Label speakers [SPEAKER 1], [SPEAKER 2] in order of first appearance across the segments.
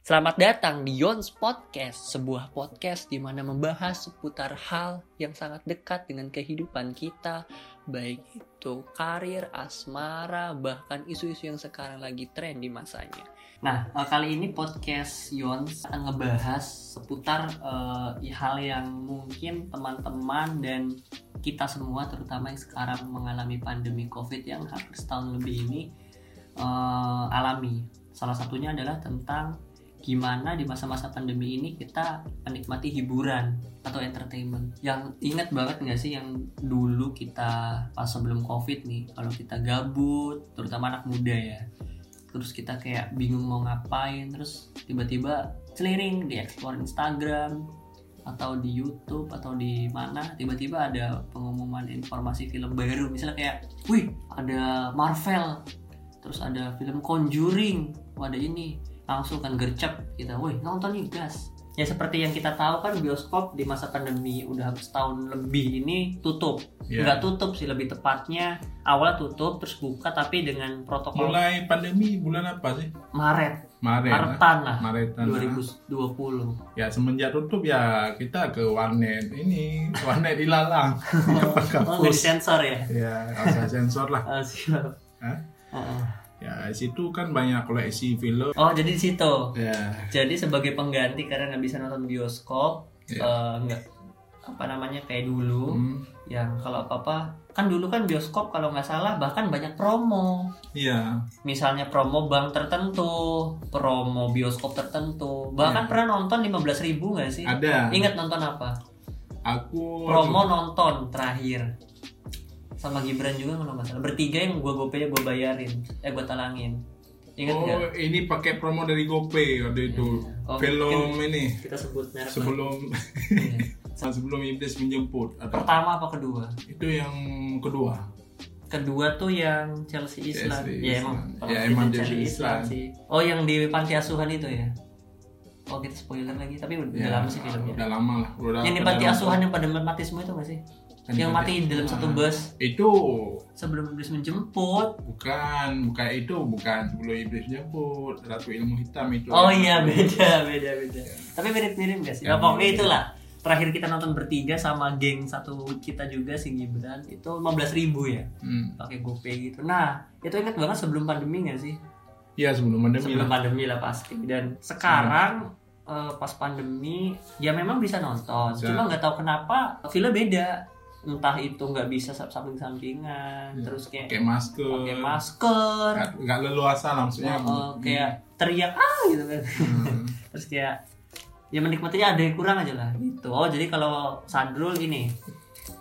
[SPEAKER 1] Selamat datang di Yons Podcast, sebuah podcast di mana membahas seputar hal yang sangat dekat dengan kehidupan kita, baik itu karir, asmara, bahkan isu-isu yang sekarang lagi tren di masanya. Nah, eh, kali ini podcast Yons akan ngebahas seputar eh, hal yang mungkin teman-teman dan kita semua, terutama yang sekarang mengalami pandemi COVID yang hampir setahun lebih ini eh, alami. Salah satunya adalah tentang gimana di masa-masa pandemi ini kita menikmati hiburan atau entertainment. Yang ingat banget nggak sih yang dulu kita pas sebelum covid nih, kalau kita gabut, terutama anak muda ya, terus kita kayak bingung mau ngapain, terus tiba-tiba celiring di explore Instagram atau di YouTube atau di mana tiba-tiba ada pengumuman informasi film baru misalnya kayak, wih ada Marvel, terus ada film Conjuring, wah ada ini, langsung kan gercep kita, woi nonton nih gas. Ya seperti yang kita tahu kan bioskop di masa pandemi udah setahun lebih ini tutup.
[SPEAKER 2] Ya.
[SPEAKER 1] Nggak tutup sih lebih tepatnya awalnya tutup terus buka tapi dengan protokol
[SPEAKER 2] Mulai pandemi bulan apa sih?
[SPEAKER 1] Maret,
[SPEAKER 2] Maret. lah.
[SPEAKER 1] Maretan lah
[SPEAKER 2] Maretan. lah.
[SPEAKER 1] 2020.
[SPEAKER 2] Ya semenjak tutup ya kita ke warnet ini, warnet dilalang.
[SPEAKER 1] Oh, nggak
[SPEAKER 2] Kampus.
[SPEAKER 1] disensor ya?
[SPEAKER 2] ya, rasa sensor lah.
[SPEAKER 1] Oh, siap.
[SPEAKER 2] Hah?
[SPEAKER 1] Heeh.
[SPEAKER 2] Ya, di situ kan banyak koleksi film.
[SPEAKER 1] Oh, jadi di situ.
[SPEAKER 2] Ya,
[SPEAKER 1] Jadi sebagai pengganti karena nggak bisa nonton bioskop,
[SPEAKER 2] Iya.
[SPEAKER 1] eh, nggak apa namanya kayak dulu.
[SPEAKER 2] hmm,
[SPEAKER 1] yang Ya, kalau apa-apa kan dulu kan bioskop kalau nggak salah bahkan banyak promo
[SPEAKER 2] iya,
[SPEAKER 1] misalnya promo bank tertentu promo bioskop tertentu bahkan
[SPEAKER 2] Iya.
[SPEAKER 1] pernah nonton 15.000 ribu nggak sih
[SPEAKER 2] ada.
[SPEAKER 1] ingat nonton apa
[SPEAKER 2] Aku
[SPEAKER 1] promo nonton terakhir sama Gibran juga kalau nggak salah bertiga yang gua gopay gua bayarin eh gua talangin ingat
[SPEAKER 2] Oh,
[SPEAKER 1] nggak
[SPEAKER 2] ini pakai promo dari GoPay waktu itu.
[SPEAKER 1] Oh,
[SPEAKER 2] film
[SPEAKER 1] mungkin
[SPEAKER 2] ini
[SPEAKER 1] kita sebut merek
[SPEAKER 2] sebelum
[SPEAKER 1] Iya.
[SPEAKER 2] sebelum iblis menjemput atau
[SPEAKER 1] pertama apa kedua
[SPEAKER 2] itu yang kedua.
[SPEAKER 1] kedua tuh yang Chelsea Island
[SPEAKER 2] Chelsea
[SPEAKER 1] ya emang
[SPEAKER 2] Island.
[SPEAKER 1] kalau
[SPEAKER 2] Ya,
[SPEAKER 1] kita
[SPEAKER 2] emang
[SPEAKER 1] Chelsea
[SPEAKER 2] Chelsea
[SPEAKER 1] Island
[SPEAKER 2] Island.
[SPEAKER 1] sih oh yang di panti asuhan itu ya oh kita spoiler lagi tapi udah
[SPEAKER 2] Ya,
[SPEAKER 1] lama sih filmnya
[SPEAKER 2] Udah lama lah. Udah
[SPEAKER 1] yang di panti asuhan yang pada mati semua itu nggak sih
[SPEAKER 2] Yang
[SPEAKER 1] yang
[SPEAKER 2] di
[SPEAKER 1] mati
[SPEAKER 2] panti
[SPEAKER 1] di dalam satu
[SPEAKER 2] asuhan.
[SPEAKER 1] bus
[SPEAKER 2] Itu
[SPEAKER 1] sebelum bus menjemput
[SPEAKER 2] bukan bukan itu bukan sebelum iblis nyebut ratu ilmu hitam itu.
[SPEAKER 1] oh iya beda beda beda tapi mirip mirip nggak sih nah,
[SPEAKER 2] Ya,
[SPEAKER 1] pokoknya
[SPEAKER 2] mirip.
[SPEAKER 1] itulah terakhir kita nonton bertiga sama geng satu kita juga si Gibran itu 15.000 ya
[SPEAKER 2] Hmm.
[SPEAKER 1] pakai GoPay gitu nah itu ingat banget sebelum pandemi nggak sih
[SPEAKER 2] Iya sebelum pandemi
[SPEAKER 1] sebelum
[SPEAKER 2] lah.
[SPEAKER 1] pandemi lah pasti dan sekarang eh, pas pandemi ya memang bisa nonton
[SPEAKER 2] Bisa.
[SPEAKER 1] cuma nggak tahu kenapa film beda entah itu nggak bisa samping sampingan
[SPEAKER 2] Iya.
[SPEAKER 1] terus kayak
[SPEAKER 2] Pakai masker.
[SPEAKER 1] pakai masker
[SPEAKER 2] Nggak- nggak leluasa lah
[SPEAKER 1] eh,
[SPEAKER 2] maksudnya.
[SPEAKER 1] eh, kayak teriak ah gitu kan
[SPEAKER 2] Hmm.
[SPEAKER 1] terus kayak ya menikmatinya ada yang kurang aja lah gitu oh jadi kalau Sandrul ini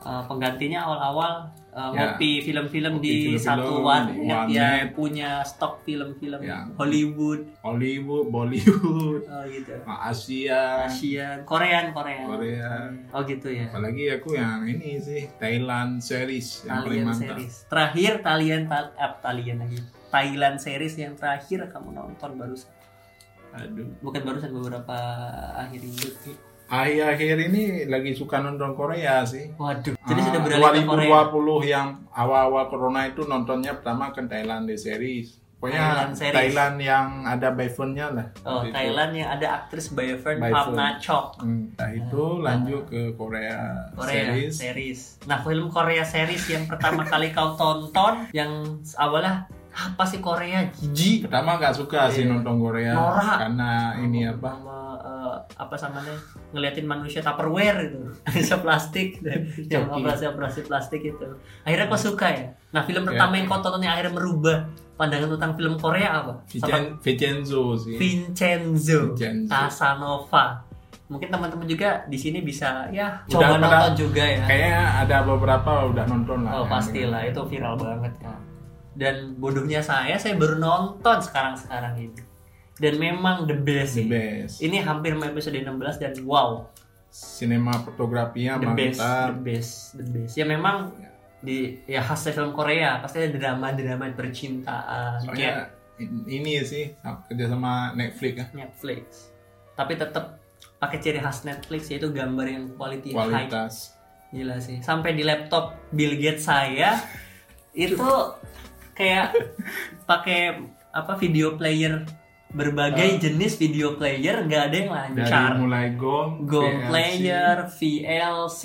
[SPEAKER 1] eh, penggantinya awal-awal eh,
[SPEAKER 2] Ya.
[SPEAKER 1] ngopi film-film
[SPEAKER 2] Ngopi
[SPEAKER 1] di
[SPEAKER 2] film-film,
[SPEAKER 1] satu
[SPEAKER 2] di
[SPEAKER 1] warnet yang
[SPEAKER 2] warnet.
[SPEAKER 1] punya stok film-film
[SPEAKER 2] Ya.
[SPEAKER 1] Hollywood
[SPEAKER 2] Hollywood, Bollywood,
[SPEAKER 1] eh, gitu
[SPEAKER 2] Asia,
[SPEAKER 1] Asian, Korean, Korean.
[SPEAKER 2] Korea.
[SPEAKER 1] Oh gitu ya.
[SPEAKER 2] Apalagi aku yang ini sih Thailand series yang paling
[SPEAKER 1] Talian
[SPEAKER 2] mantap.
[SPEAKER 1] series. Terakhir Talian tal eh, Talian lagi. Thailand series yang terakhir kamu nonton barusan.
[SPEAKER 2] Aduh.
[SPEAKER 1] Bukan barusan beberapa akhir minggu.
[SPEAKER 2] Akhir-akhir ini lagi suka nonton Korea sih.
[SPEAKER 1] Waduh. Jadi
[SPEAKER 2] Ah,
[SPEAKER 1] sudah beralih ke Korea.
[SPEAKER 2] 2020 yang awal-awal corona itu nontonnya pertama ke Thailand di series. Pokoknya
[SPEAKER 1] Thailand
[SPEAKER 2] Thailand,
[SPEAKER 1] series.
[SPEAKER 2] yang ada Byfernnya lah.
[SPEAKER 1] Oh,
[SPEAKER 2] Waktu itu.
[SPEAKER 1] Thailand yang ada aktris Bayfern
[SPEAKER 2] Bayfern.
[SPEAKER 1] Hapna Chok.
[SPEAKER 2] Hmm, Nah, itu lanjut ke Korea,
[SPEAKER 1] Ah. Korea
[SPEAKER 2] series.
[SPEAKER 1] series. Nah, film Korea series yang pertama kali kau tonton yang awalnya apa sih Korea jijik
[SPEAKER 2] Pertama nggak suka sih
[SPEAKER 1] Iya.
[SPEAKER 2] nonton Korea
[SPEAKER 1] Norak.
[SPEAKER 2] karena Nah, ini apa?
[SPEAKER 1] sama eh, apa samanya ngeliatin manusia tupperware itu manusia plastik yang
[SPEAKER 2] Joki.
[SPEAKER 1] operasi operasi plastik itu akhirnya kau suka ya nah film pertama
[SPEAKER 2] Ya.
[SPEAKER 1] yang kau tonton yang akhirnya merubah pandangan tentang film Korea apa sama
[SPEAKER 2] Vicen- Vincenzo sih.
[SPEAKER 1] Vincenzo
[SPEAKER 2] Vincenzo.
[SPEAKER 1] Casanova mungkin teman-teman juga di sini bisa ya
[SPEAKER 2] Udah
[SPEAKER 1] coba
[SPEAKER 2] pernah-
[SPEAKER 1] nonton juga ya
[SPEAKER 2] Kayaknya ada beberapa udah nonton lah.
[SPEAKER 1] oh
[SPEAKER 2] ya.
[SPEAKER 1] pastilah itu viral banget kan dan bodohnya saya saya baru nonton sekarang sekarang ini dan memang the best
[SPEAKER 2] The
[SPEAKER 1] sih
[SPEAKER 2] best.
[SPEAKER 1] ini hampir mau episode 16 dan wow
[SPEAKER 2] Sinema fotografinya
[SPEAKER 1] the best
[SPEAKER 2] mantap.
[SPEAKER 1] the best the best ya memang di ya khasnya film Korea pasti ada drama drama percintaan kayak
[SPEAKER 2] Soalnya in- ini sih kerja sama Netflix ya.
[SPEAKER 1] Netflix tapi tetap pakai ciri khas Netflix yaitu gambar yang quality high
[SPEAKER 2] Kualitas.
[SPEAKER 1] gila sih sampai di laptop Bill Gates saya itu kayak pakai apa video player berbagai jenis video player nggak ada yang
[SPEAKER 2] Ah. dari
[SPEAKER 1] lancar.
[SPEAKER 2] mulai Gong,
[SPEAKER 1] Go
[SPEAKER 2] VLC,
[SPEAKER 1] Player, VLC,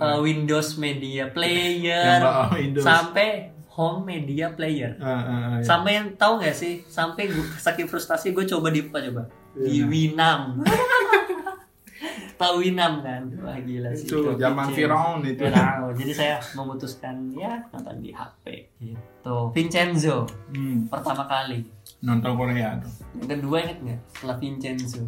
[SPEAKER 1] uh, Windows Media
[SPEAKER 2] Hmm. yang
[SPEAKER 1] Player,
[SPEAKER 2] bawah Windows.
[SPEAKER 1] sampai Home Media Player.
[SPEAKER 2] Ah, ah, ah, ya.
[SPEAKER 1] Sampai yang tahu nggak sih? Sampai gue saking frustasi gue coba di apa coba di
[SPEAKER 2] Iya.
[SPEAKER 1] Winam. Tahu Winam kan? Wah gila sih.
[SPEAKER 2] itu zaman
[SPEAKER 1] Viral
[SPEAKER 2] Firaun itu.
[SPEAKER 1] Viral. Jadi saya memutuskan ya nonton di HP
[SPEAKER 2] Iya.
[SPEAKER 1] gitu. Vincenzo
[SPEAKER 2] Hmm,
[SPEAKER 1] pertama kali.
[SPEAKER 2] nonton Korea tuh.
[SPEAKER 1] Yang kedua inget nggak? Setelah Vincenzo.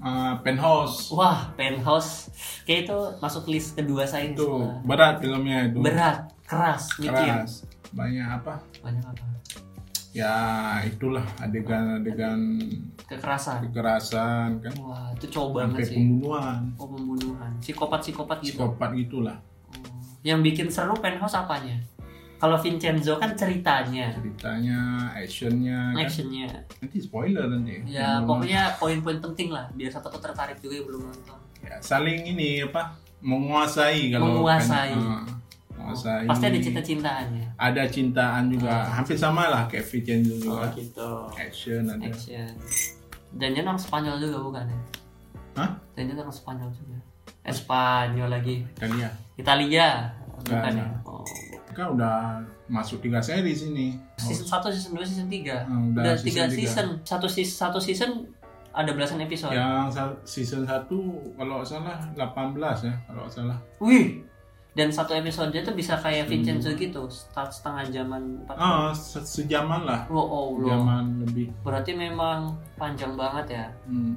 [SPEAKER 2] Ah, penthouse
[SPEAKER 1] Wah, penthouse kayak itu masuk list kedua saya ini
[SPEAKER 2] itu
[SPEAKER 1] semua.
[SPEAKER 2] berat filmnya itu.
[SPEAKER 1] iya Berat, keras, mikir.
[SPEAKER 2] Keras. Banyak apa?
[SPEAKER 1] Banyak apa?
[SPEAKER 2] Ya itulah adegan-adegan
[SPEAKER 1] Kekerasan.
[SPEAKER 2] kekerasan kan
[SPEAKER 1] Wah, itu coba
[SPEAKER 2] sampai
[SPEAKER 1] banget sih.
[SPEAKER 2] pembunuhan,
[SPEAKER 1] Oh, pembunuhan. Psikopat-psikopat gitu.
[SPEAKER 2] psikopat gitulah
[SPEAKER 1] Oh. Yang bikin seru penthouse apanya? Kalau Vincenzo kan ceritanya,
[SPEAKER 2] ceritanya, actionnya kan.
[SPEAKER 1] actionnya.
[SPEAKER 2] Nanti spoiler nanti.
[SPEAKER 1] Ya,
[SPEAKER 2] Yang belum
[SPEAKER 1] pokoknya poin-poin penting lah. Biar satu tertarik juga yang belum nonton.
[SPEAKER 2] ya, saling ini apa menguasai kalau
[SPEAKER 1] Menguasai.
[SPEAKER 2] Eh, menguasai
[SPEAKER 1] Pasti ada ya. cinta-cintaannya.
[SPEAKER 2] ada cintaan
[SPEAKER 1] Ah.
[SPEAKER 2] juga hampir sama lah kayak Vincenzo juga
[SPEAKER 1] gitu.
[SPEAKER 2] action ada
[SPEAKER 1] Action. Dan dia Iya. orang Spanyol juga bukan ya?
[SPEAKER 2] Hah?
[SPEAKER 1] Dan dia orang Spanyol juga. Eh, Spanyol lagi.
[SPEAKER 2] Italia
[SPEAKER 1] Italia bukan
[SPEAKER 2] Nah,
[SPEAKER 1] ya?
[SPEAKER 2] nah.
[SPEAKER 1] Oh.
[SPEAKER 2] kan udah masuk tiga seri sini
[SPEAKER 1] Season 1, season 2, season 3.
[SPEAKER 2] Hmm,
[SPEAKER 1] Udah 3
[SPEAKER 2] tiga.
[SPEAKER 1] season. Satu season, satu season ada belasan episode.
[SPEAKER 2] yang sa- season 1 kalau nggak salah 18 ya kalau nggak salah
[SPEAKER 1] Wih. Dan satu episode itu bisa kayak
[SPEAKER 2] Hmm.
[SPEAKER 1] Vincenzo gitu, start setengah jaman empat.
[SPEAKER 2] ah se- sejaman lah
[SPEAKER 1] Wow, oh, wow.
[SPEAKER 2] sejaman lebih
[SPEAKER 1] Berarti memang panjang banget ya.
[SPEAKER 2] Hmm.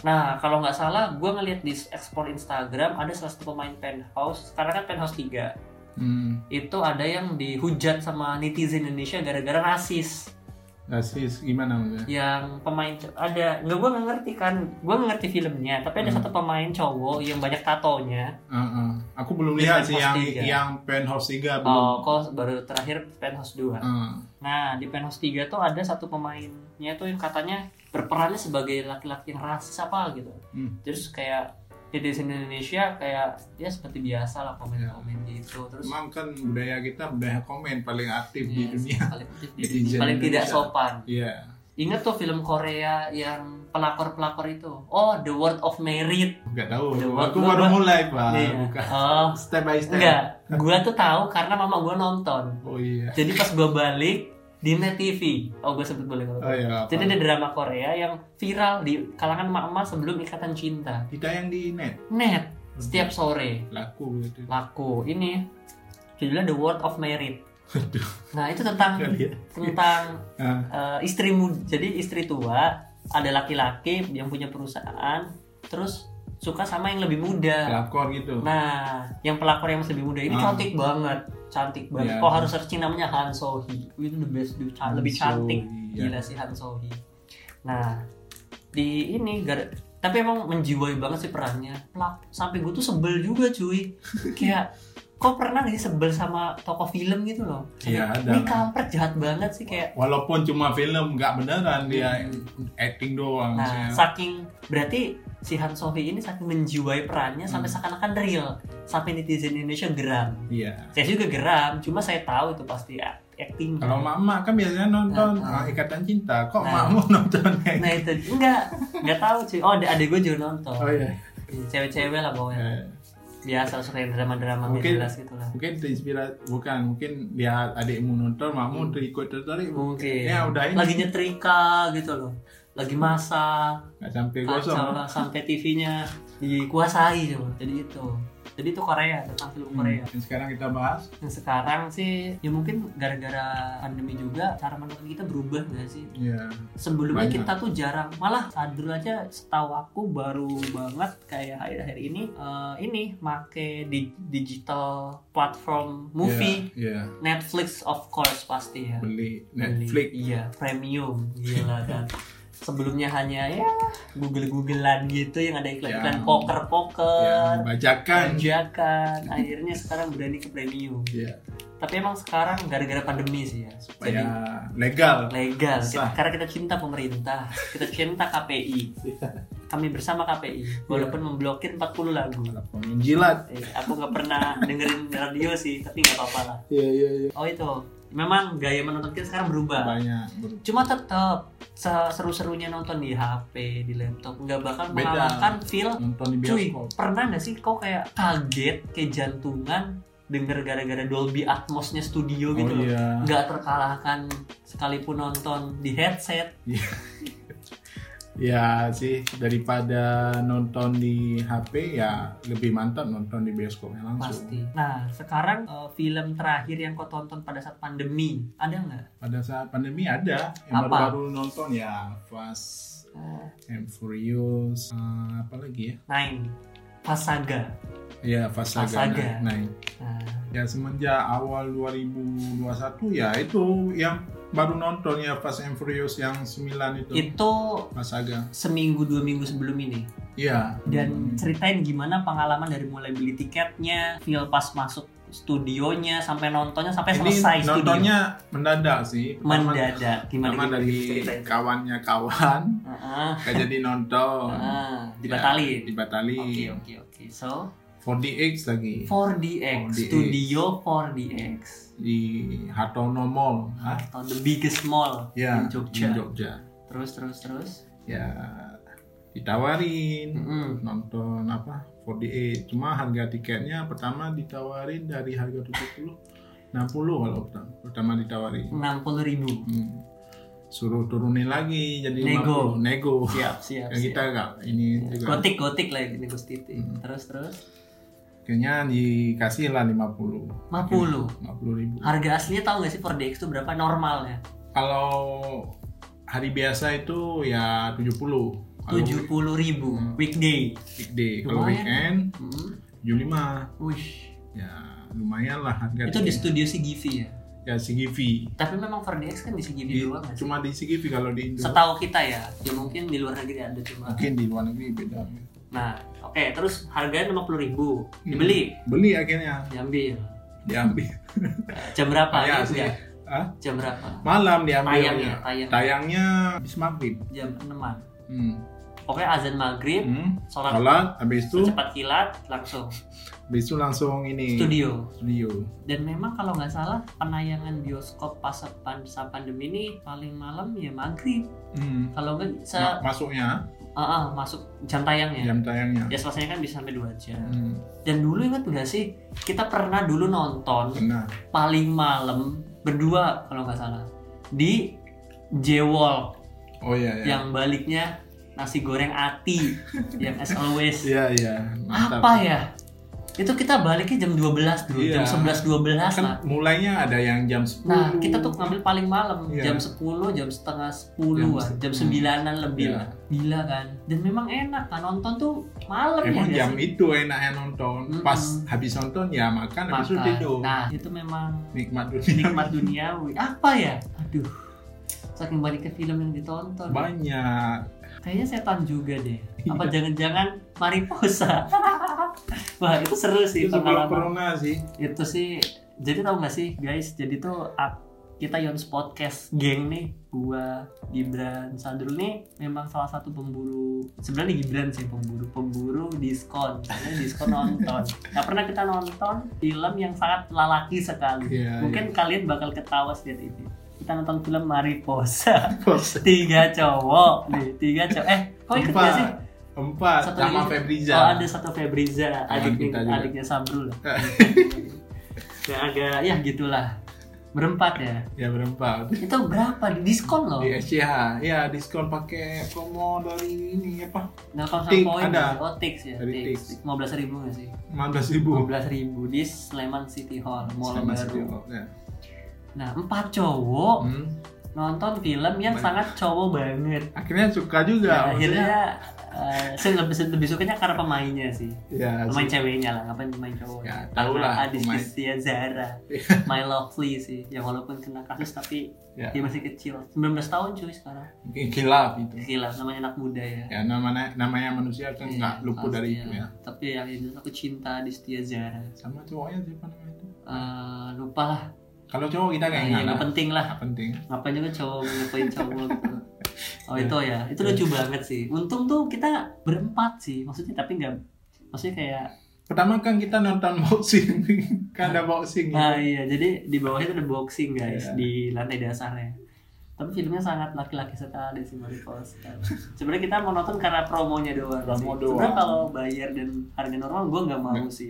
[SPEAKER 1] Nah, kalau nggak salah, gue ngeliat di explore Instagram ada salah satu pemain penthouse. Karena kan penthouse 3
[SPEAKER 2] hmm.
[SPEAKER 1] itu ada yang dihujat sama netizen Indonesia gara-gara rasis.
[SPEAKER 2] rasis Nah, gimana maksudnya
[SPEAKER 1] yang pemain co- ada nggak gue nggak ngerti kan gue nggak ngerti filmnya tapi ada
[SPEAKER 2] Hmm.
[SPEAKER 1] satu pemain cowok yang banyak tatonya
[SPEAKER 2] Ah, ah. aku belum
[SPEAKER 1] Di
[SPEAKER 2] lihat sih
[SPEAKER 1] Penthouse
[SPEAKER 2] yang
[SPEAKER 1] tiga. ya?
[SPEAKER 2] yang penthouse 3 belum
[SPEAKER 1] oh kok baru terakhir penthouse 2
[SPEAKER 2] Ah.
[SPEAKER 1] nah di penthouse 3 tuh ada satu pemainnya tuh yang katanya berperannya sebagai laki-laki yang rasis apa gitu
[SPEAKER 2] Hmm.
[SPEAKER 1] terus kayak di sini Indonesia kayak ya seperti biasa lah komen-komen gitu terus
[SPEAKER 2] Emang kan budaya kita budaya komen paling aktif
[SPEAKER 1] ya,
[SPEAKER 2] di dunia.
[SPEAKER 1] paling, di-
[SPEAKER 2] Netizen
[SPEAKER 1] paling tidak
[SPEAKER 2] Indonesia.
[SPEAKER 1] sopan
[SPEAKER 2] Iya.
[SPEAKER 1] Ingat tuh film Korea yang pelakor-pelakor itu. Oh, The World of Merit.
[SPEAKER 2] Nggak tahu.
[SPEAKER 1] Coba-
[SPEAKER 2] Aku
[SPEAKER 1] gua-
[SPEAKER 2] baru
[SPEAKER 1] gua-
[SPEAKER 2] mulai pak.
[SPEAKER 1] Iya.
[SPEAKER 2] Ah, Bukan.
[SPEAKER 1] Oh,
[SPEAKER 2] Step by step.
[SPEAKER 1] Enggak, gua tuh tahu karena mama gua nonton.
[SPEAKER 2] Oh iya.
[SPEAKER 1] Jadi pas gua balik di Net TV. Oh, gua sebut boleh kalau.
[SPEAKER 2] Oh iya. apa?
[SPEAKER 1] Jadi ada drama Korea yang viral di kalangan emak-emak sebelum ikatan cinta.
[SPEAKER 2] kita yang di net
[SPEAKER 1] Net setiap sore
[SPEAKER 2] laku gitu.
[SPEAKER 1] laku ini judulnya The World of Merit.
[SPEAKER 2] Aduh.
[SPEAKER 1] Nah, itu tentang
[SPEAKER 2] Kali ya.
[SPEAKER 1] tentang
[SPEAKER 2] Ah,
[SPEAKER 1] eh, istri muda. Jadi istri tua ada laki-laki yang punya perusahaan terus suka sama yang lebih muda.
[SPEAKER 2] Pelakor gitu.
[SPEAKER 1] Nah, yang pelakor yang masih lebih muda ini
[SPEAKER 2] Ah.
[SPEAKER 1] cantik banget, cantik banget.
[SPEAKER 2] Iya.
[SPEAKER 1] Kok harus searching namanya Han So Hee. Itu the best, the ca- ah, lebih
[SPEAKER 2] So,
[SPEAKER 1] cantik.
[SPEAKER 2] Iya.
[SPEAKER 1] Gila sih Han So Hee. Nah, di ini gar- tapi emang menjiwai banget sih perannya. Pelak- sampai gue tuh sebel juga cuy. Kayak kok pernah gak sih sebel sama tokoh film gitu loh?
[SPEAKER 2] Iya, ada.
[SPEAKER 1] Ini kampret jahat banget sih kayak.
[SPEAKER 2] Walaupun cuma film nggak beneran dia
[SPEAKER 1] Hmm.
[SPEAKER 2] acting doang.
[SPEAKER 1] Nah,
[SPEAKER 2] saya.
[SPEAKER 1] saking berarti si Han So Hee ini saking menjiwai perannya
[SPEAKER 2] Hmm.
[SPEAKER 1] sampai seakan-akan real. Sampai netizen Indonesia geram.
[SPEAKER 2] Iya.
[SPEAKER 1] saya juga geram cuma saya tahu itu pasti a- acting
[SPEAKER 2] Kalau mama kan biasanya nonton
[SPEAKER 1] Nah,
[SPEAKER 2] ah, Ikatan Cinta. Kok
[SPEAKER 1] Nah.
[SPEAKER 2] makmu nonton kayak
[SPEAKER 1] nah itu enggak enggak tahu cuy oh ada adik gue juga nonton
[SPEAKER 2] Oh iya.
[SPEAKER 1] cewek-cewek lah pokoknya
[SPEAKER 2] Eh,
[SPEAKER 1] biasa suka yang drama-drama
[SPEAKER 2] Mungkin-
[SPEAKER 1] jelas gitu lah
[SPEAKER 2] mungkin terinspirasi bukan mungkin dia adikmu nonton makmu
[SPEAKER 1] Hmm.
[SPEAKER 2] ikut tertarik
[SPEAKER 1] mungkin
[SPEAKER 2] ya udah ini
[SPEAKER 1] lagi nyetrika gitu loh lagi masak
[SPEAKER 2] nggak sampai
[SPEAKER 1] kacau
[SPEAKER 2] gosong
[SPEAKER 1] lah sampai TV-nya dikuasai coba. jadi itu jadi itu Korea tentang film Korea
[SPEAKER 2] Hmm, yang sekarang kita bahas
[SPEAKER 1] yang sekarang sih ya mungkin gara-gara pandemi juga cara menonton kita berubah nggak sih
[SPEAKER 2] ya
[SPEAKER 1] sebelumnya
[SPEAKER 2] Banyak.
[SPEAKER 1] kita tuh jarang malah Sadrul aja setahu aku baru banget kayak akhir-akhir ini eh, ini make di digital platform movie
[SPEAKER 2] ya, ya.
[SPEAKER 1] Netflix of course pasti ya
[SPEAKER 2] beli
[SPEAKER 1] Beli.
[SPEAKER 2] Netflix
[SPEAKER 1] iya premium gila kan sebelumnya hanya ya google-googlean gitu yang ada iklan-iklan
[SPEAKER 2] Yang-
[SPEAKER 1] poker-poker
[SPEAKER 2] yang bajakan
[SPEAKER 1] kerjakan akhirnya sekarang berani ke premium
[SPEAKER 2] ya
[SPEAKER 1] tapi emang sekarang gara-gara pandemi sih ya
[SPEAKER 2] supaya legal
[SPEAKER 1] legal Kita-
[SPEAKER 2] Sah.
[SPEAKER 1] karena kita cinta pemerintah kita cinta KPI
[SPEAKER 2] Iya.
[SPEAKER 1] kami bersama KPI walaupun memblokir 40 lagu
[SPEAKER 2] Walaupun menjilat
[SPEAKER 1] Eh, aku nggak pernah dengerin radio sih tapi nggak apa-apa lah
[SPEAKER 2] iya iya iya
[SPEAKER 1] oh itu memang gaya menonton kita sekarang berubah
[SPEAKER 2] banyak ber-
[SPEAKER 1] cuma tetap se- seru-serunya nonton di HP di laptop nggak bakal
[SPEAKER 2] Beda.
[SPEAKER 1] mengalahkan feel
[SPEAKER 2] nonton di
[SPEAKER 1] cuy
[SPEAKER 2] bioskop
[SPEAKER 1] pernah nggak sih kau kayak kaget kayak jantungan denger gara-gara Dolby Atmosnya studio gitu
[SPEAKER 2] oh
[SPEAKER 1] loh
[SPEAKER 2] iya
[SPEAKER 1] nggak terkalahkan sekalipun nonton di headset
[SPEAKER 2] ya sih daripada nonton di HP ya lebih mantap nonton di bioskopnya langsung
[SPEAKER 1] pasti nah sekarang eh, film terakhir yang kau tonton pada saat pandemi ada nggak
[SPEAKER 2] pada saat pandemi ada
[SPEAKER 1] Apa?
[SPEAKER 2] yang baru-baru nonton ya Fast
[SPEAKER 1] Eh,
[SPEAKER 2] and Furious eh, apa lagi ya
[SPEAKER 1] Nine Pasaga
[SPEAKER 2] ya Fast Saga,
[SPEAKER 1] Fast Saga.
[SPEAKER 2] Nah, nah,
[SPEAKER 1] nah,
[SPEAKER 2] ya semenjak awal 2021 ya itu yang baru nonton ya Fast and Furious yang 9 itu
[SPEAKER 1] itu
[SPEAKER 2] Fast Saga
[SPEAKER 1] seminggu dua minggu sebelum ini
[SPEAKER 2] iya
[SPEAKER 1] dan
[SPEAKER 2] Hmm.
[SPEAKER 1] ceritain gimana pengalaman dari mulai beli tiketnya, feel pas masuk studionya sampai nontonnya sampai
[SPEAKER 2] ini
[SPEAKER 1] selesai studio.
[SPEAKER 2] nontonnya mendadak sih Pertama-
[SPEAKER 1] Mendadak gimana
[SPEAKER 2] pertama
[SPEAKER 1] gitu
[SPEAKER 2] dari
[SPEAKER 1] ceritain?
[SPEAKER 2] kawannya kawan
[SPEAKER 1] Heeh.
[SPEAKER 2] gak jadi nonton
[SPEAKER 1] Heeh, Ah, dibatalin.
[SPEAKER 2] Oh. Ya, dibatalin
[SPEAKER 1] Oke oke oke. So
[SPEAKER 2] 4DX lagi
[SPEAKER 1] 4DX,
[SPEAKER 2] 4DX.
[SPEAKER 1] studio 4DX.
[SPEAKER 2] di Hartono Mall Hah?
[SPEAKER 1] Atau the biggest mall
[SPEAKER 2] ya
[SPEAKER 1] di Jogja.
[SPEAKER 2] di Jogja
[SPEAKER 1] Terus terus terus.
[SPEAKER 2] ya ditawarin
[SPEAKER 1] Mm-mm.
[SPEAKER 2] nonton apa 4DX cuma harga tiketnya pertama ditawarin dari harga 70 60 kalau pertama, pertama ditawarin
[SPEAKER 1] 60 ribu.
[SPEAKER 2] Hmm. suruh turunin lagi jadi
[SPEAKER 1] Nego. Iya.
[SPEAKER 2] 50. nego
[SPEAKER 1] Siap siap.
[SPEAKER 2] ya kita
[SPEAKER 1] siap.
[SPEAKER 2] enggak ini juga
[SPEAKER 1] Gotik gotik lah ini Gus Titi.
[SPEAKER 2] Mm.
[SPEAKER 1] Terus terus.
[SPEAKER 2] kayaknya dikasih lah 50
[SPEAKER 1] 50.
[SPEAKER 2] 50 ribu
[SPEAKER 1] Harga aslinya tahu nggak sih 4DX itu berapa normalnya?
[SPEAKER 2] kalau hari biasa itu ya 70 kalau
[SPEAKER 1] tujuh puluh ribu
[SPEAKER 2] Hmm.
[SPEAKER 1] weekday.
[SPEAKER 2] weekday kalau
[SPEAKER 1] Lumayan.
[SPEAKER 2] weekend 75
[SPEAKER 1] Wih,
[SPEAKER 2] ya lumayan lah harga
[SPEAKER 1] itu di
[SPEAKER 2] tiket.
[SPEAKER 1] studio CGV ya.
[SPEAKER 2] ya CGV
[SPEAKER 1] Tapi memang 4DX kan di CGV
[SPEAKER 2] Di-
[SPEAKER 1] doang nggak sih?
[SPEAKER 2] Iya. cuma di CGV kalau di Indo
[SPEAKER 1] Setahu kita ya, ya mungkin di luar negeri ada cuma.
[SPEAKER 2] mungkin di luar negeri beda
[SPEAKER 1] Nah, oke, terus harganya lima puluh ribu,
[SPEAKER 2] Iya.
[SPEAKER 1] dibeli,
[SPEAKER 2] beli akhirnya
[SPEAKER 1] diambil.
[SPEAKER 2] diambil
[SPEAKER 1] Eh, Jam berapa?
[SPEAKER 2] Payah
[SPEAKER 1] Ingat
[SPEAKER 2] sih.
[SPEAKER 1] nggak?
[SPEAKER 2] Hah?
[SPEAKER 1] Jam berapa?
[SPEAKER 2] malam diambil
[SPEAKER 1] Tayang ya, tayang.
[SPEAKER 2] tayangnya bis maghrib
[SPEAKER 1] Jam enaman.
[SPEAKER 2] hmm.
[SPEAKER 1] Oke, azan maghrib,
[SPEAKER 2] Hmm.
[SPEAKER 1] sholat
[SPEAKER 2] sholat habis itu
[SPEAKER 1] cepat kilat, langsung
[SPEAKER 2] habis itu langsung ini
[SPEAKER 1] studio.
[SPEAKER 2] studio
[SPEAKER 1] Dan memang kalau nggak salah penayangan bioskop pas pan- sa pandemi ini paling malam ya maghrib.
[SPEAKER 2] Hmm.
[SPEAKER 1] Kalau nggak se
[SPEAKER 2] Ma- masuknya
[SPEAKER 1] Ah, ah, masuk jam tayangnya.
[SPEAKER 2] jam tayangnya
[SPEAKER 1] Ya selesainya kan bisa sampai 2 jam.
[SPEAKER 2] Hmm.
[SPEAKER 1] Dan dulu ingat nggak sih kita pernah dulu nonton
[SPEAKER 2] Pernah.
[SPEAKER 1] paling malam berdua kalau nggak salah di Jewol
[SPEAKER 2] Oh iya iya.
[SPEAKER 1] yang baliknya nasi goreng ati yang as always.
[SPEAKER 2] Iya iya. Mantap.
[SPEAKER 1] Apa ya? Itu kita baliknya jam 12 dulu,
[SPEAKER 2] Iya.
[SPEAKER 1] jam 11 12
[SPEAKER 2] Kan
[SPEAKER 1] lah.
[SPEAKER 2] mulainya ada yang jam 10.
[SPEAKER 1] Nah, kita tuh ngambil paling malam,
[SPEAKER 2] Iya.
[SPEAKER 1] jam 10, jam setengah 10 an, jam
[SPEAKER 2] Jam
[SPEAKER 1] 9-an lebih
[SPEAKER 2] Iya.
[SPEAKER 1] lah. Gila kan? Dan memang enak kan nonton tuh malam ya
[SPEAKER 2] Emang
[SPEAKER 1] nggak
[SPEAKER 2] jam
[SPEAKER 1] sih?
[SPEAKER 2] itu enaknya nonton.
[SPEAKER 1] Mm-mm.
[SPEAKER 2] Pas habis nonton ya makan, habis itu
[SPEAKER 1] Makan.
[SPEAKER 2] tidur.
[SPEAKER 1] Nah, itu memang
[SPEAKER 2] Nikmat dunia.
[SPEAKER 1] nikmat duniawi. Apa ya? Aduh. Saking balik ke film yang ditonton.
[SPEAKER 2] Banyak.
[SPEAKER 1] Kayaknya setan juga deh. Apa
[SPEAKER 2] Iya.
[SPEAKER 1] jangan-jangan Mariposa? Wah, itu seru sih
[SPEAKER 2] Itu sebelum
[SPEAKER 1] pengalaman.
[SPEAKER 2] corona sih.
[SPEAKER 1] Itu sih jadi tahu nggak sih guys, jadi tuh ak- kita Yons Podcast geng nih gua Gibran Sadrul nih memang salah satu pemburu sebenarnya Gibran sih pemburu pemburu diskon karena diskon nonton nggak pernah kita nonton film yang sangat lalaki sekali
[SPEAKER 2] Iya.
[SPEAKER 1] Mungkin kalian bakal ketawa setiap ini. Kita nonton film Mariposa.
[SPEAKER 2] iya. Bos.
[SPEAKER 1] tiga cowok nih, tiga cowok. Eh, kok ikut gak sih?
[SPEAKER 2] Empat. Empat
[SPEAKER 1] Satu
[SPEAKER 2] sama
[SPEAKER 1] lagi.
[SPEAKER 2] Febriza.
[SPEAKER 1] Oh, ada satu Febriza, adik
[SPEAKER 2] kita Iya. juga. Iya.
[SPEAKER 1] adiknya Sabrul. lah. ya, agak ya gitulah. Berempat ya.
[SPEAKER 2] Ya berempat.
[SPEAKER 1] Itu berapa? Di diskon loh.
[SPEAKER 2] Di SCH. Ya diskon pakai promo dari ini apa?
[SPEAKER 1] Nah, kalau sama
[SPEAKER 2] Tik,
[SPEAKER 1] poin
[SPEAKER 2] ada.
[SPEAKER 1] Oh, Tix ya.
[SPEAKER 2] Dari
[SPEAKER 1] Tix. 15 ribu gak sih?
[SPEAKER 2] 15 ribu.
[SPEAKER 1] 15 ribu di Sleman City Hall, mall
[SPEAKER 2] Sama
[SPEAKER 1] baru. Oh.
[SPEAKER 2] Studio. Ya.
[SPEAKER 1] Nah, empat cowok
[SPEAKER 2] Hmm.
[SPEAKER 1] nonton film yang
[SPEAKER 2] Banyak.
[SPEAKER 1] sangat cowok banget.
[SPEAKER 2] Akhirnya
[SPEAKER 1] Ya,
[SPEAKER 2] suka juga.
[SPEAKER 1] akhirnya eh, saya lebih lebih sukanya karena pemainnya sih
[SPEAKER 2] Ya,
[SPEAKER 1] pemain ceweknya lah ngapain pemain cowok
[SPEAKER 2] Ya, tahu lah,
[SPEAKER 1] Adis
[SPEAKER 2] pemain.
[SPEAKER 1] Christia Zara My Lovely sih yang walaupun kena kasus tapi
[SPEAKER 2] Ya.
[SPEAKER 1] dia masih kecil 19 tahun cuy sekarang
[SPEAKER 2] Kilap itu.
[SPEAKER 1] gila namanya anak muda ya
[SPEAKER 2] ya namanya namanya manusia kan
[SPEAKER 1] Iya,
[SPEAKER 2] nggak luput
[SPEAKER 1] pasti
[SPEAKER 2] dari itu ya
[SPEAKER 1] tapi yang jelas aku cinta Adis Christia Zara
[SPEAKER 2] sama cowoknya siapa namanya itu
[SPEAKER 1] Eh, lupa lah
[SPEAKER 2] kalau cowok kita nggak
[SPEAKER 1] Eh,
[SPEAKER 2] ingat
[SPEAKER 1] ya, nggak
[SPEAKER 2] lah.
[SPEAKER 1] penting lah
[SPEAKER 2] nggak penting
[SPEAKER 1] ngapain juga cowok ngapain cowok gitu oh
[SPEAKER 2] Ya.
[SPEAKER 1] itu ya itu lucu banget sih untung tuh kita berempat sih maksudnya tapi nggak maksudnya kayak
[SPEAKER 2] pertama kan kita nonton boxing kan ada boxing
[SPEAKER 1] Nah
[SPEAKER 2] ya.
[SPEAKER 1] iya, jadi di bawahnya itu ada boxing guys
[SPEAKER 2] Iya.
[SPEAKER 1] di lantai dasarnya. Tapi filmnya sangat laki-laki sekali sih Body Calls. Sebenarnya kita mau nonton karena promonya doang.
[SPEAKER 2] Promo
[SPEAKER 1] sih.
[SPEAKER 2] doang.
[SPEAKER 1] Sebenarnya kalau bayar dan harga normal gue nggak mau sih.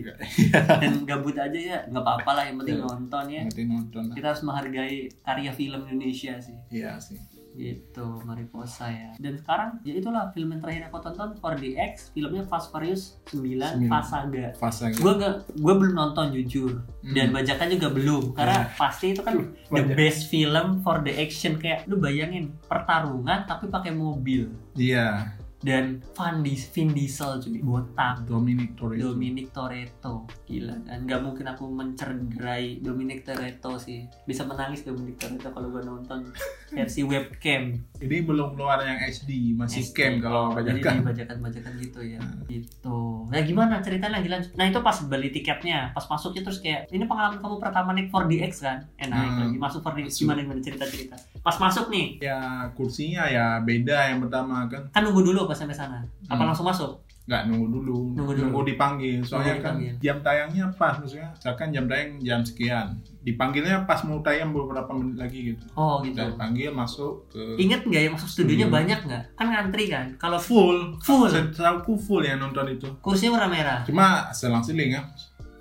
[SPEAKER 1] Dan gabut aja ya nggak apa-apa lah yang penting
[SPEAKER 2] Iya.
[SPEAKER 1] nonton ya.
[SPEAKER 2] Nanti nonton lah.
[SPEAKER 1] Kita harus menghargai karya film Indonesia sih.
[SPEAKER 2] Iya sih.
[SPEAKER 1] Gitu, Mariposa ya. Dan sekarang ya itulah film yang terakhir aku tonton 4DX, filmnya Fast Furious 9,
[SPEAKER 2] Sembilan.
[SPEAKER 1] Pasaga
[SPEAKER 2] Fasa gitu.
[SPEAKER 1] gue gak gue belum nonton jujur
[SPEAKER 2] Hmm. Nah.
[SPEAKER 1] dan bajakan juga belum karena pasti itu kan the
[SPEAKER 2] Bajak.
[SPEAKER 1] best film for the action kayak lu bayangin pertarungan tapi pakai mobil
[SPEAKER 2] Iya,
[SPEAKER 1] dan Van Dis Vin Diesel cuy botak
[SPEAKER 2] Dominic Toretto.
[SPEAKER 1] Dominic Toretto gila dan nggak mungkin aku mencederai Dominic Toretto sih bisa menangis Dominic Toretto kalau gue nonton versi webcam
[SPEAKER 2] Ini belum keluar yang HD, masih
[SPEAKER 1] SD.
[SPEAKER 2] cam kalau kan.
[SPEAKER 1] jadi
[SPEAKER 2] bajakan.
[SPEAKER 1] bajakan-bajakan gitu ya gitu nah gimana ceritanya lagi lanjut nah itu pas beli tiketnya pas masuknya terus kayak ini pengalaman kamu pertama naik 4DX kan eh naik
[SPEAKER 2] Hmm.
[SPEAKER 1] lagi masuk 4DX
[SPEAKER 2] Masuk.
[SPEAKER 1] gimana gimana cerita-cerita pas masuk nih
[SPEAKER 2] Ya kursinya ya beda yang pertama kan.
[SPEAKER 1] kan nunggu dulu pas sampai sana apa
[SPEAKER 2] Hmm.
[SPEAKER 1] langsung masuk
[SPEAKER 2] nggak nunggu dulu
[SPEAKER 1] Nunggu
[SPEAKER 2] nunggu,
[SPEAKER 1] dulu.
[SPEAKER 2] dipanggil soalnya
[SPEAKER 1] Nunggu
[SPEAKER 2] kan
[SPEAKER 1] dipanggil.
[SPEAKER 2] jam tayangnya pas maksudnya misalkan jam tayang jam sekian dipanggilnya pas mau tayang beberapa menit lagi gitu
[SPEAKER 1] oh gitu
[SPEAKER 2] dan panggil masuk ke
[SPEAKER 1] Ingat nggak ya masuk studionya
[SPEAKER 2] Hmm.
[SPEAKER 1] banyak nggak? Kan ngantri kan? Kalau f-
[SPEAKER 2] full
[SPEAKER 1] full,
[SPEAKER 2] setahu full ya nonton itu
[SPEAKER 1] kursinya warna merah.
[SPEAKER 2] cuma selang seling ya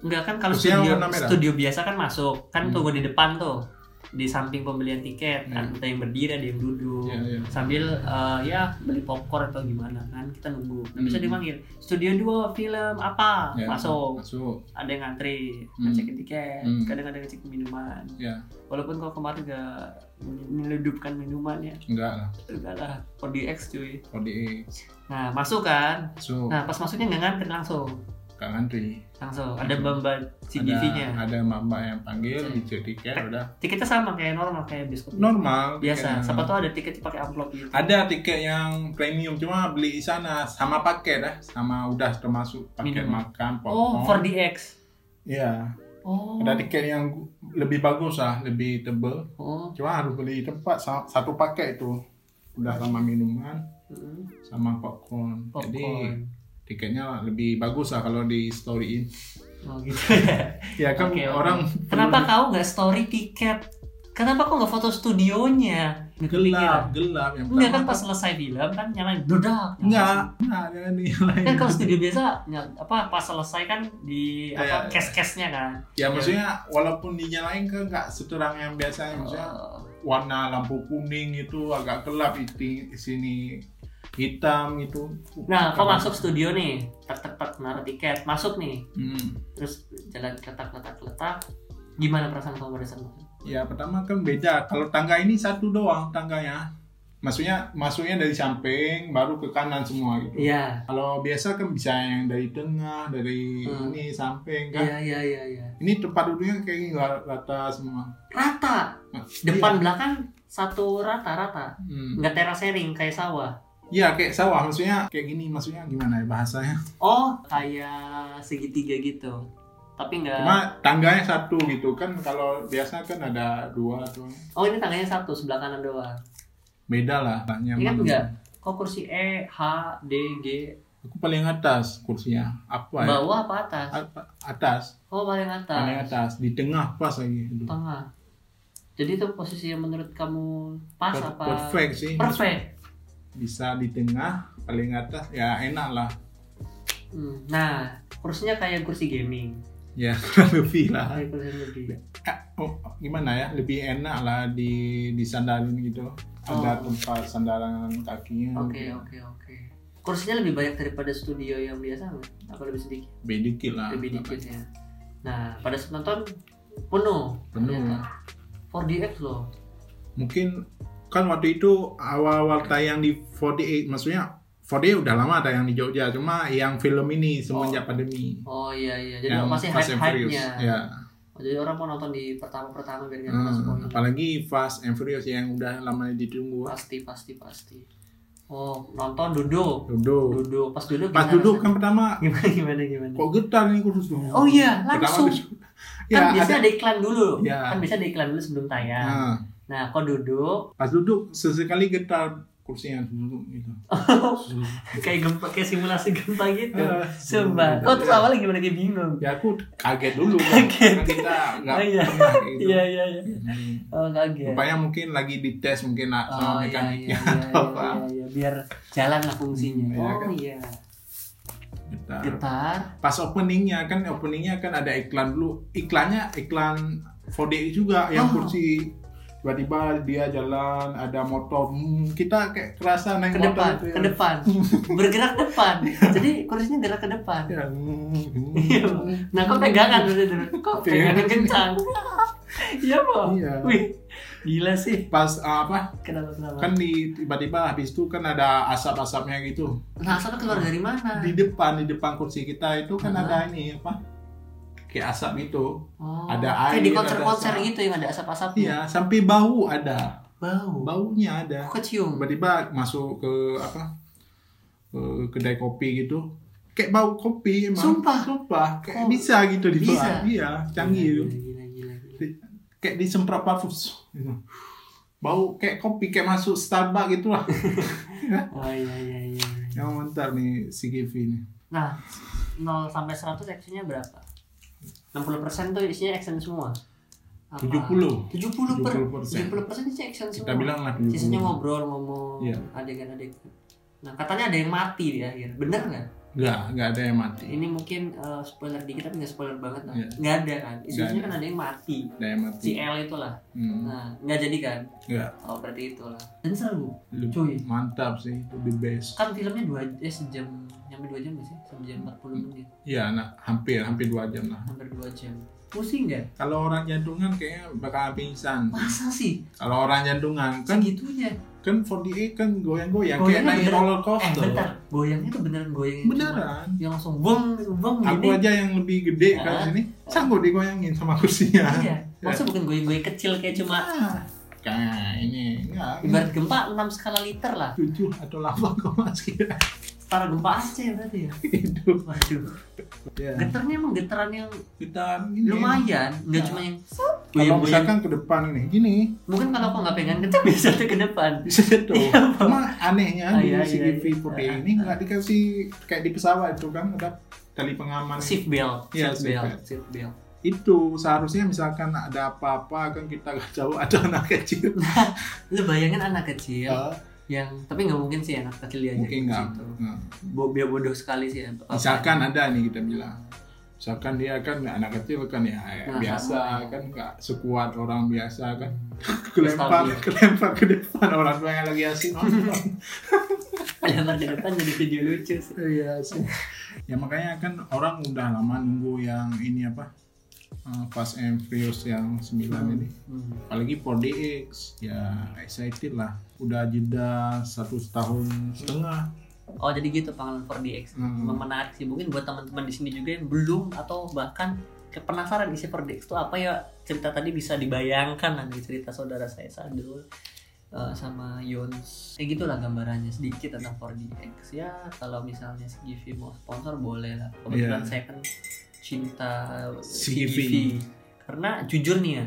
[SPEAKER 1] Enggak kan kalau
[SPEAKER 2] Kursinya
[SPEAKER 1] studio
[SPEAKER 2] warna merah.
[SPEAKER 1] studio biasa kan masuk. Kan
[SPEAKER 2] Hmm.
[SPEAKER 1] tuh gue di depan tuh. Di samping pembelian tiket kan
[SPEAKER 2] Hmm.
[SPEAKER 1] ada yang berdiri, ada yang duduk.
[SPEAKER 2] Iya, iya.
[SPEAKER 1] sambil eh, ya beli popcorn atau gimana kan kita nunggu nah, bisa
[SPEAKER 2] Hmm.
[SPEAKER 1] dipanggil studio dua film apa
[SPEAKER 2] Ya,
[SPEAKER 1] masuk
[SPEAKER 2] masuk
[SPEAKER 1] ada yang ngantri
[SPEAKER 2] Hmm.
[SPEAKER 1] ngecekin tiket
[SPEAKER 2] Hmm.
[SPEAKER 1] kadang ada yang ngecekin minuman
[SPEAKER 2] ya
[SPEAKER 1] walaupun kalau kemarin gak menyeludupkan minuman ya
[SPEAKER 2] enggak lah
[SPEAKER 1] enggak lah for DX cuy
[SPEAKER 2] ODE
[SPEAKER 1] nah masuk kan
[SPEAKER 2] masuk
[SPEAKER 1] nah pas masuknya nggak ngantri langsung
[SPEAKER 2] gak ngantri
[SPEAKER 1] langsung ada bamba CDV nya
[SPEAKER 2] ada, ada mbak yang panggil
[SPEAKER 1] Hmm.
[SPEAKER 2] dicek tiket udah
[SPEAKER 1] tiketnya sama kayak normal kayak biskop
[SPEAKER 2] normal
[SPEAKER 1] biasa
[SPEAKER 2] tiketnya.
[SPEAKER 1] siapa tuh ada tiket pakai amplop gitu
[SPEAKER 2] ada tiket yang premium cuma beli di sana sama paket dah sama udah termasuk paket
[SPEAKER 1] Minum.
[SPEAKER 2] makan
[SPEAKER 1] oh for DX
[SPEAKER 2] Iya,
[SPEAKER 1] oh
[SPEAKER 2] ada tiket yang gu- lebih bagus lah lebih tebel
[SPEAKER 1] oh
[SPEAKER 2] cuma harus beli tempat sa- satu paket itu udah sama minuman
[SPEAKER 1] Mm.
[SPEAKER 2] sama popcorn, jadi
[SPEAKER 1] popcorn
[SPEAKER 2] tiketnya lebih bagus lah kalau di storyin
[SPEAKER 1] Oh gitu ya.
[SPEAKER 2] ya kan
[SPEAKER 1] Oke, oke.
[SPEAKER 2] orang
[SPEAKER 1] Kenapa kau nggak story tiket? Kenapa kau nggak foto studionya? Nggak kepikiran.
[SPEAKER 2] gelap gelap yang
[SPEAKER 1] Enggak kan
[SPEAKER 2] pertama.
[SPEAKER 1] pas selesai film kan nyalain dodak.
[SPEAKER 2] enggak enggak ada nilai
[SPEAKER 1] Kan kalau studio biasa nyal- apa pas selesai kan di apa
[SPEAKER 2] Kayak-
[SPEAKER 1] case-case-nya kan.
[SPEAKER 2] ya maksudnya walaupun dinyalain kan nggak seterang yang biasanya maksudnya
[SPEAKER 1] Oh,
[SPEAKER 2] warna lampu kuning itu agak gelap di sini hitam gitu. itu.
[SPEAKER 1] Nah, kau masuk studio nih, tek-tek-tek naruh tiket, masuk nih,
[SPEAKER 2] Hmm.
[SPEAKER 1] terus jalan letak-letak-letak. Gimana perasaan kamu pada saat itu?
[SPEAKER 2] Ya pertama kan beda. Kalau tangga ini satu doang tangganya. Maksudnya masuknya dari samping baru ke kanan semua gitu.
[SPEAKER 1] Iya,
[SPEAKER 2] Kalau biasa kan bisa yang dari tengah, dari
[SPEAKER 1] Hmm.
[SPEAKER 2] ini samping kan.
[SPEAKER 1] iya, iya, iya. iya.
[SPEAKER 2] Ini tempat duduknya kayak gini rat- rata semua.
[SPEAKER 1] Rata,
[SPEAKER 2] Nah,
[SPEAKER 1] depan belakang satu rata-rata,
[SPEAKER 2] Iya. Hmm.
[SPEAKER 1] nggak terasering kayak sawah.
[SPEAKER 2] Iya, kayak sawah maksudnya kayak gini maksudnya gimana ya bahasanya?
[SPEAKER 1] Oh, kayak segitiga gitu. Tapi nggak.
[SPEAKER 2] Cuma tangganya satu gitu kan kalau biasa kan ada dua tuh.
[SPEAKER 1] Oh, ini tangannya satu sebelah kanan doang.
[SPEAKER 2] Beda lah tanya.
[SPEAKER 1] Ingat nggak? Kok kursi E, H, D, G,
[SPEAKER 2] Aku paling atas kursinya. Apa ya?
[SPEAKER 1] bawah apa atas?
[SPEAKER 2] Apa- Atas.
[SPEAKER 1] Oh, paling atas.
[SPEAKER 2] Paling atas. Di tengah pas lagi. Aduh.
[SPEAKER 1] Tengah. Jadi itu posisi yang menurut kamu pas
[SPEAKER 2] Per-
[SPEAKER 1] apa?
[SPEAKER 2] Perfect sih.
[SPEAKER 1] Perfect.
[SPEAKER 2] Bisa di tengah, paling atas. Ya enak lah.
[SPEAKER 1] Hmm, Nah, kursinya kayak kursi gaming.
[SPEAKER 2] Ya lebih lah.
[SPEAKER 1] Kayak kursi lebih.
[SPEAKER 2] Eh, oh, gimana ya? Lebih enak lah di disandarin gitu. Ada
[SPEAKER 1] Oh.
[SPEAKER 2] tempat sandaran kakinya.
[SPEAKER 1] Oke, oke, oke. Kursinya lebih banyak daripada studio yang biasa nggak? Apa lebih sedikit?
[SPEAKER 2] Lebih dikit lah.
[SPEAKER 1] lebih dikit ya. Nah, pada saat nonton penuh.
[SPEAKER 2] Penuh.
[SPEAKER 1] ternyata. 4DX loh.
[SPEAKER 2] Mungkin kan waktu itu awal-awal tayang di 48 maksudnya 48 udah lama tayang di Jogja cuma yang film ini semenjak pandemi
[SPEAKER 1] Oh iya iya. Jadi
[SPEAKER 2] yang
[SPEAKER 1] masih
[SPEAKER 2] Fast and
[SPEAKER 1] hype-hype-nya.
[SPEAKER 2] Furious. Ya.
[SPEAKER 1] Oh, Jadi orang mau nonton di pertama-pertama biar nggak
[SPEAKER 2] Hmm,
[SPEAKER 1] kena spoiler.
[SPEAKER 2] apalagi Fast and Furious yang udah lama ditunggu.
[SPEAKER 1] Pasti pasti pasti. Oh, nonton duduk.
[SPEAKER 2] Duduk.
[SPEAKER 1] Duduk. Pas duduk
[SPEAKER 2] Pas
[SPEAKER 1] gimana
[SPEAKER 2] duduk
[SPEAKER 1] rasanya?
[SPEAKER 2] kan pertama
[SPEAKER 1] gimana gimana gimana.
[SPEAKER 2] kok getar ini kursus dulu.
[SPEAKER 1] Oh iya,
[SPEAKER 2] Pertama
[SPEAKER 1] langsung.
[SPEAKER 2] duduk.
[SPEAKER 1] kan
[SPEAKER 2] ya,
[SPEAKER 1] biasanya
[SPEAKER 2] ada. Hmm.
[SPEAKER 1] ada, iklan dulu.
[SPEAKER 2] Iya.
[SPEAKER 1] Kan biasanya ada iklan dulu sebelum tayang.
[SPEAKER 2] Nah,
[SPEAKER 1] Nah, kok duduk?
[SPEAKER 2] pas duduk sesekali getar kursi yang dulu gitu.
[SPEAKER 1] kayak gempa kayak simulasi gempa gitu
[SPEAKER 2] Eh,
[SPEAKER 1] coba oh terus awalnya gimana dia bingung
[SPEAKER 2] ya aku kaget dulu kan karena kita nggak
[SPEAKER 1] Oh, iya.
[SPEAKER 2] pernah gitu.
[SPEAKER 1] iya iya iya
[SPEAKER 2] Hmm.
[SPEAKER 1] oh kaget
[SPEAKER 2] Rupanya mungkin lagi dites mungkin lah sama
[SPEAKER 1] Oh iya iya, iya,
[SPEAKER 2] mekaniknya
[SPEAKER 1] iya,
[SPEAKER 2] atau apa.
[SPEAKER 1] iya, biar jalan lah fungsinya.
[SPEAKER 2] Hmm, iya
[SPEAKER 1] oh
[SPEAKER 2] kan?
[SPEAKER 1] iya,
[SPEAKER 2] Gitar.
[SPEAKER 1] getar.
[SPEAKER 2] Pas openingnya kan openingnya kan ada iklan dulu. Iklannya iklan 4D juga yang
[SPEAKER 1] Oh.
[SPEAKER 2] kursi tiba-tiba dia jalan ada motor Hmm, kita kayak kerasa naik
[SPEAKER 1] Ke
[SPEAKER 2] motor
[SPEAKER 1] depan,
[SPEAKER 2] gitu ya.
[SPEAKER 1] ke depan. Bergerak depan. Jadi kursinya gerak ke depan.
[SPEAKER 2] Ya, hmm, hmm.
[SPEAKER 1] Iya, Pak. Nah, kok pegangan berarti dulu? Kok
[SPEAKER 2] Iya.
[SPEAKER 1] pegangan kencang? Iya, Pak.
[SPEAKER 2] Iya.
[SPEAKER 1] Wih, Ah. gila sih.
[SPEAKER 2] pas uh, apa
[SPEAKER 1] Kenapa kenapa?
[SPEAKER 2] kan di tiba-tiba habis itu kan ada asap-asapnya gitu
[SPEAKER 1] Nah, asalnya keluar dari mana?
[SPEAKER 2] di depan di depan kursi kita itu kan
[SPEAKER 1] Hmm.
[SPEAKER 2] ada ini apa kayak asap gitu
[SPEAKER 1] Oh,
[SPEAKER 2] ada
[SPEAKER 1] kayak di
[SPEAKER 2] air,
[SPEAKER 1] konser-konser
[SPEAKER 2] ada asap.
[SPEAKER 1] gitu yang ada asap-asapnya.
[SPEAKER 2] iya sampai bau ada
[SPEAKER 1] Bau.
[SPEAKER 2] baunya ada
[SPEAKER 1] Kok kecium?
[SPEAKER 2] tiba-tiba masuk ke apa ke kedai kopi gitu kayak bau kopi emang
[SPEAKER 1] Sumpah?
[SPEAKER 2] sumpah kayak
[SPEAKER 1] Oh,
[SPEAKER 2] bisa gitu di
[SPEAKER 1] bisa?
[SPEAKER 2] iya canggih gitu.
[SPEAKER 1] Gila, gila, gila, gila.
[SPEAKER 2] kayak disemprot parfum gitu. bau kayak kopi kayak masuk Starbucks gitu lah
[SPEAKER 1] Oh iya iya iya.
[SPEAKER 2] yang mantap nih si Givi nih
[SPEAKER 1] Nah, 0 sampai 100 actionnya berapa? 60% tuh isinya action semua. Apa?
[SPEAKER 2] 70
[SPEAKER 1] 70 per
[SPEAKER 2] 70%.
[SPEAKER 1] 70 persen isinya action semua.
[SPEAKER 2] kita bilang lah 70.
[SPEAKER 1] Sisanya ngobrol ngomong
[SPEAKER 2] Iya.
[SPEAKER 1] adegan-adegan. Nah katanya ada yang mati di akhir, bener nggak?
[SPEAKER 2] nggak nggak ada yang mati
[SPEAKER 1] Ini mungkin eh, spoiler dikit tapi nggak spoiler banget lah.
[SPEAKER 2] Iya.
[SPEAKER 1] Nggak ada kan? Isinya
[SPEAKER 2] ada.
[SPEAKER 1] kan ada yang mati.
[SPEAKER 2] ada yang mati
[SPEAKER 1] Si L itulah.
[SPEAKER 2] hmm. Iya.
[SPEAKER 1] Nah nggak jadi kan?
[SPEAKER 2] nggak
[SPEAKER 1] Oh berarti itulah. Dan seru.
[SPEAKER 2] Lu-
[SPEAKER 1] Cuy.
[SPEAKER 2] mantap sih itu the best
[SPEAKER 1] Kan filmnya dua eh, sejam nyampe dua jam nggak sih? Sejam
[SPEAKER 2] Hmm.
[SPEAKER 1] 40 menit,
[SPEAKER 2] ya nah hampir hampir dua jam lah
[SPEAKER 1] hampir dua jam. Pusing nggak?
[SPEAKER 2] kalau orang jantungan kayaknya bakal pingsan
[SPEAKER 1] Masa sih?
[SPEAKER 2] kalau orang jantungan kan
[SPEAKER 1] Segitunya. Eh,
[SPEAKER 2] kan 48 kan goyang-goyang
[SPEAKER 1] Goyangnya
[SPEAKER 2] kayak naik
[SPEAKER 1] beneran.
[SPEAKER 2] roller
[SPEAKER 1] Eh
[SPEAKER 2] coaster
[SPEAKER 1] bentar, goyangnya tuh beneran goyang yang cuma-
[SPEAKER 2] beneran
[SPEAKER 1] Yang langsung bong, bong
[SPEAKER 2] aku
[SPEAKER 1] gini.
[SPEAKER 2] aja yang lebih gede
[SPEAKER 1] Ah.
[SPEAKER 2] kan sini sanggup digoyangin sama kursinya
[SPEAKER 1] Iya. Maksudnya bukan goyang-goyang kecil kayak cuma
[SPEAKER 2] ah. kayak ini enggak ini
[SPEAKER 1] ibarat gempa 6 skala liter lah.
[SPEAKER 2] tujuh atau delapan koma sekian
[SPEAKER 1] Setara gempa Aceh berarti ya.
[SPEAKER 2] itu
[SPEAKER 1] Waduh.
[SPEAKER 2] ya.
[SPEAKER 1] Getarnya emang getaran yang
[SPEAKER 2] kita ini
[SPEAKER 1] lumayan, Iya, nggak cuma yang
[SPEAKER 2] kalau
[SPEAKER 1] goyang-goyang.
[SPEAKER 2] Iya. misalkan ke depan ini gini
[SPEAKER 1] Mungkin kalau aku nggak pegang getar bisa tuh ke depan.
[SPEAKER 2] bisa jatuh
[SPEAKER 1] Iya, Pak.
[SPEAKER 2] cuma anehnya
[SPEAKER 1] Ah,
[SPEAKER 2] di
[SPEAKER 1] iya, iya,
[SPEAKER 2] CGV
[SPEAKER 1] iya.
[SPEAKER 2] 48 ini nggak dikasih kayak di pesawat itu kan ada tali pengaman
[SPEAKER 1] Shift belt,
[SPEAKER 2] Iya,
[SPEAKER 1] shift belt,
[SPEAKER 2] seatbelt.
[SPEAKER 1] shift belt.
[SPEAKER 2] itu seharusnya misalkan ada apa-apa kan kita nggak jauh ada anak kecil
[SPEAKER 1] Lu bayangin anak kecil
[SPEAKER 2] Ah,
[SPEAKER 1] yang tapi nggak mungkin sih anak kecil diajak
[SPEAKER 2] Ya, mungkin
[SPEAKER 1] ke
[SPEAKER 2] nggak
[SPEAKER 1] Iya. situ.
[SPEAKER 2] Nah,
[SPEAKER 1] Bo- Biar bodoh sekali sih. ya.
[SPEAKER 2] misalkan ah. ada nih kita bilang misalkan dia kan anak kecil kan ya
[SPEAKER 1] Nah,
[SPEAKER 2] biasa
[SPEAKER 1] sama.
[SPEAKER 2] kan nggak sekuat orang biasa kan
[SPEAKER 1] Terus
[SPEAKER 2] kelempar
[SPEAKER 1] tadi.
[SPEAKER 2] kelempar ke depan orang tua yang lagi asing
[SPEAKER 1] Lempar ke depan jadi video lucu sih.
[SPEAKER 2] iya sih ya makanya kan orang udah lama nunggu yang ini apa eh, Fast and Furious yang 9 ini
[SPEAKER 1] Hmm.
[SPEAKER 2] apalagi 4DX ya excited lah udah jeda satu tahun setengah
[SPEAKER 1] Oh jadi gitu panggilan 4DX.
[SPEAKER 2] Hmm.
[SPEAKER 1] Memang menarik sih mungkin buat teman-teman di sini juga yang belum atau bahkan kepenasaran isi 4DX itu apa ya cerita tadi bisa dibayangkan lah dari cerita saudara saya Sadul eh, sama Yons. Kayak gitulah gambarannya sedikit tentang 4DX ya. Kalau misalnya CGV mau sponsor boleh lah. Kebetulan
[SPEAKER 2] Iya.
[SPEAKER 1] saya kan cinta CGV.
[SPEAKER 2] CGV.
[SPEAKER 1] Karena jujur nih ya,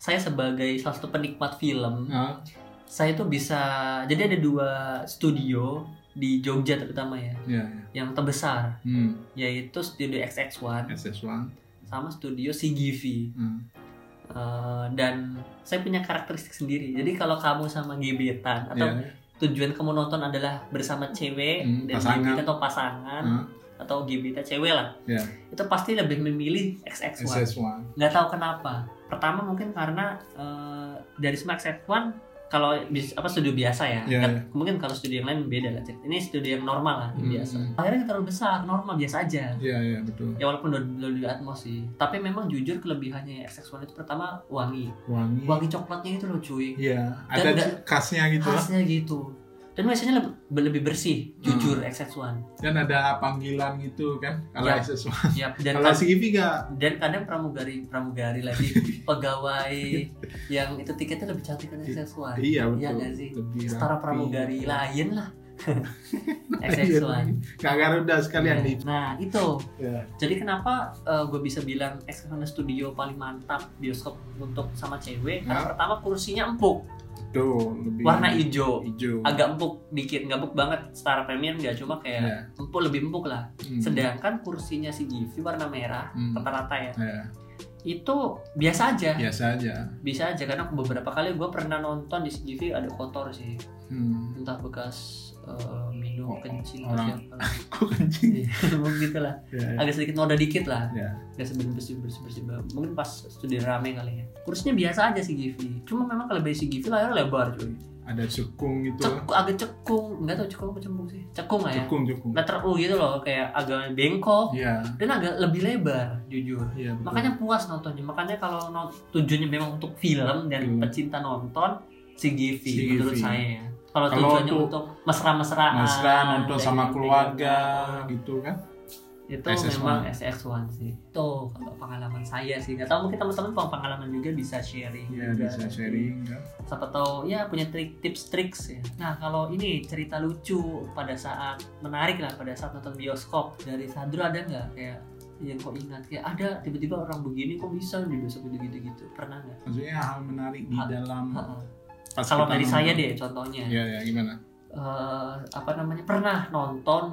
[SPEAKER 1] saya sebagai salah satu penikmat film
[SPEAKER 2] Nah,
[SPEAKER 1] saya tuh bisa jadi ada dua studio di Jogja terutama ya
[SPEAKER 2] ya, ya.
[SPEAKER 1] yang terbesar
[SPEAKER 2] Hmm,
[SPEAKER 1] yaitu studio XX1
[SPEAKER 2] SS1
[SPEAKER 1] sama studio CGV
[SPEAKER 2] hmm.
[SPEAKER 1] Eh, dan saya punya karakteristik sendiri jadi kalau kamu sama gebetan atau
[SPEAKER 2] ya.
[SPEAKER 1] tujuan kamu nonton adalah bersama cewek
[SPEAKER 2] Hmm,
[SPEAKER 1] dan
[SPEAKER 2] pasangan. Hmm.
[SPEAKER 1] gebetan atau pasangan
[SPEAKER 2] Hah?
[SPEAKER 1] atau gebetan cewek lah
[SPEAKER 2] Ya.
[SPEAKER 1] itu pasti lebih memilih XX1
[SPEAKER 2] SS1
[SPEAKER 1] nggak tahu kenapa pertama mungkin karena eh, dari Smart Set One kalau bis- apa studio biasa ya
[SPEAKER 2] Iya,
[SPEAKER 1] Kan-
[SPEAKER 2] iya.
[SPEAKER 1] mungkin kalau studio yang lain beda lah ini studio yang normal lah yang
[SPEAKER 2] Hmm,
[SPEAKER 1] biasa
[SPEAKER 2] hmm.
[SPEAKER 1] akhirnya nggak terlalu besar normal biasa aja
[SPEAKER 2] ya ya betul
[SPEAKER 1] ya walaupun dulu di Atmos sih tapi memang jujur kelebihannya ya, XX1 itu pertama wangi
[SPEAKER 2] wangi
[SPEAKER 1] wangi coklatnya itu loh cuy
[SPEAKER 2] Iya,
[SPEAKER 1] Dan
[SPEAKER 2] ada
[SPEAKER 1] nggak-
[SPEAKER 2] khasnya gitu lah.
[SPEAKER 1] khasnya gitu dan biasanya leb- lebih, bersih jujur
[SPEAKER 2] Hmm.
[SPEAKER 1] XX1
[SPEAKER 2] Dan ada panggilan gitu kan. Kalau
[SPEAKER 1] Ya.
[SPEAKER 2] sesuatu.
[SPEAKER 1] Yap, dan kan-
[SPEAKER 2] Kalau
[SPEAKER 1] kad-
[SPEAKER 2] si Givi nggak
[SPEAKER 1] dan kadang pramugari pramugari lagi pegawai yang itu tiketnya lebih cantik kan XX1
[SPEAKER 2] Iya betul.
[SPEAKER 1] Iya nggak sih?
[SPEAKER 2] Lebih
[SPEAKER 1] setara
[SPEAKER 2] rapi.
[SPEAKER 1] pramugari lain lah
[SPEAKER 2] Iya,
[SPEAKER 1] XX1
[SPEAKER 2] Nggak Garuda sekalian nih.
[SPEAKER 1] nah itu
[SPEAKER 2] Ya.
[SPEAKER 1] jadi kenapa gue bisa bilang XX1 Studio paling mantap bioskop untuk sama cewek karena
[SPEAKER 2] Nah.
[SPEAKER 1] pertama kursinya empuk
[SPEAKER 2] Betul, lebih
[SPEAKER 1] warna hijau
[SPEAKER 2] hijau.
[SPEAKER 1] agak ya, empuk dikit nggak empuk banget setara premium nggak cuma kayak
[SPEAKER 2] Iya.
[SPEAKER 1] empuk lebih empuk lah
[SPEAKER 2] Hmm.
[SPEAKER 1] sedangkan kursinya si Givi warna merah
[SPEAKER 2] Hmm.
[SPEAKER 1] rata-rata ya
[SPEAKER 2] Iya,
[SPEAKER 1] itu biasa aja
[SPEAKER 2] biasa aja.
[SPEAKER 1] bisa aja karena beberapa kali gue pernah nonton di CGV ada kotor sih
[SPEAKER 2] Hmm.
[SPEAKER 1] entah bekas eh, minum
[SPEAKER 2] Oh,
[SPEAKER 1] kencing
[SPEAKER 2] orang.
[SPEAKER 1] atau
[SPEAKER 2] Kok kencing?
[SPEAKER 1] siapa gitu lah
[SPEAKER 2] Iya.
[SPEAKER 1] agak sedikit noda dikit lah
[SPEAKER 2] Iya.
[SPEAKER 1] nggak sebersih bersih bersih bersih banget. mungkin pas studi rame kali ya kursinya biasa aja sih Givi cuma memang kalau dari si Givi layarnya lebar cuy
[SPEAKER 2] Ada cekung gitu.
[SPEAKER 1] Cek, agak cekung nggak tau cekung apa cembung sih cekung lah ya
[SPEAKER 2] Cekung, cekung.
[SPEAKER 1] letter U gitu loh kayak agak bengkok
[SPEAKER 2] Iya.
[SPEAKER 1] dan agak lebih lebar jujur
[SPEAKER 2] Iya, betul.
[SPEAKER 1] makanya puas nontonnya makanya kalau no- tujuannya memang untuk film dan
[SPEAKER 2] Film.
[SPEAKER 1] pecinta nonton si Givi
[SPEAKER 2] Hmm. Si
[SPEAKER 1] menurut
[SPEAKER 2] Givi.
[SPEAKER 1] saya ya. kalau
[SPEAKER 2] Kalau
[SPEAKER 1] tujuannya
[SPEAKER 2] untuk
[SPEAKER 1] untuk mesra-mesraan
[SPEAKER 2] mesra nonton
[SPEAKER 1] dan
[SPEAKER 2] sama
[SPEAKER 1] pegang-
[SPEAKER 2] keluarga gitu kan.
[SPEAKER 1] itu
[SPEAKER 2] SS1.
[SPEAKER 1] memang SX1 sih tuh kalau pengalaman saya sih nggak tahu mungkin teman-teman punya pengalaman juga bisa sharing
[SPEAKER 2] Iya,
[SPEAKER 1] juga
[SPEAKER 2] bisa
[SPEAKER 1] nanti.
[SPEAKER 2] sharing kan.
[SPEAKER 1] siapa tahu ya punya trik tips tricks ya nah kalau ini cerita lucu pada saat menarik lah pada saat nonton bioskop dari Sandro ada nggak kayak yang kau ingat kayak ada tiba-tiba orang begini kok bisa di bioskop gitu gitu pernah nggak
[SPEAKER 2] Maksudnya hal menarik di
[SPEAKER 1] Ah.
[SPEAKER 2] dalam
[SPEAKER 1] Heeh.
[SPEAKER 2] pas
[SPEAKER 1] kalau
[SPEAKER 2] kita
[SPEAKER 1] dari saya
[SPEAKER 2] nonton.
[SPEAKER 1] deh contohnya
[SPEAKER 2] Iya, ya, gimana?
[SPEAKER 1] Eh, apa namanya pernah nonton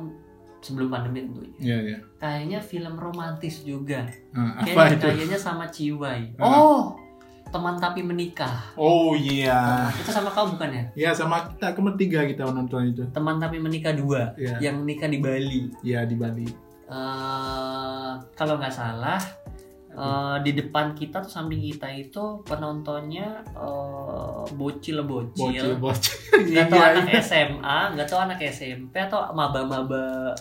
[SPEAKER 1] sebelum pandemi tentunya
[SPEAKER 2] Iya, iya.
[SPEAKER 1] kayaknya film romantis juga
[SPEAKER 2] Ah, apa
[SPEAKER 1] kayaknya,
[SPEAKER 2] itu?
[SPEAKER 1] kayaknya sama Ciwai
[SPEAKER 2] Ah.
[SPEAKER 1] oh teman tapi menikah
[SPEAKER 2] Oh iya.
[SPEAKER 1] itu sama kau bukan ya
[SPEAKER 2] Iya sama kita kemen tiga kita nonton itu.
[SPEAKER 1] teman tapi menikah dua
[SPEAKER 2] Iya.
[SPEAKER 1] yang menikah di Bali
[SPEAKER 2] Iya di Bali.
[SPEAKER 1] eh kalau nggak salah eh, di depan kita tuh samping kita itu penontonnya eh,
[SPEAKER 2] Bocil,
[SPEAKER 1] bocil-bocil
[SPEAKER 2] bocil.
[SPEAKER 1] nggak tahu
[SPEAKER 2] Iya,
[SPEAKER 1] anak
[SPEAKER 2] iya.
[SPEAKER 1] SMA nggak tahu anak SMP atau maba-maba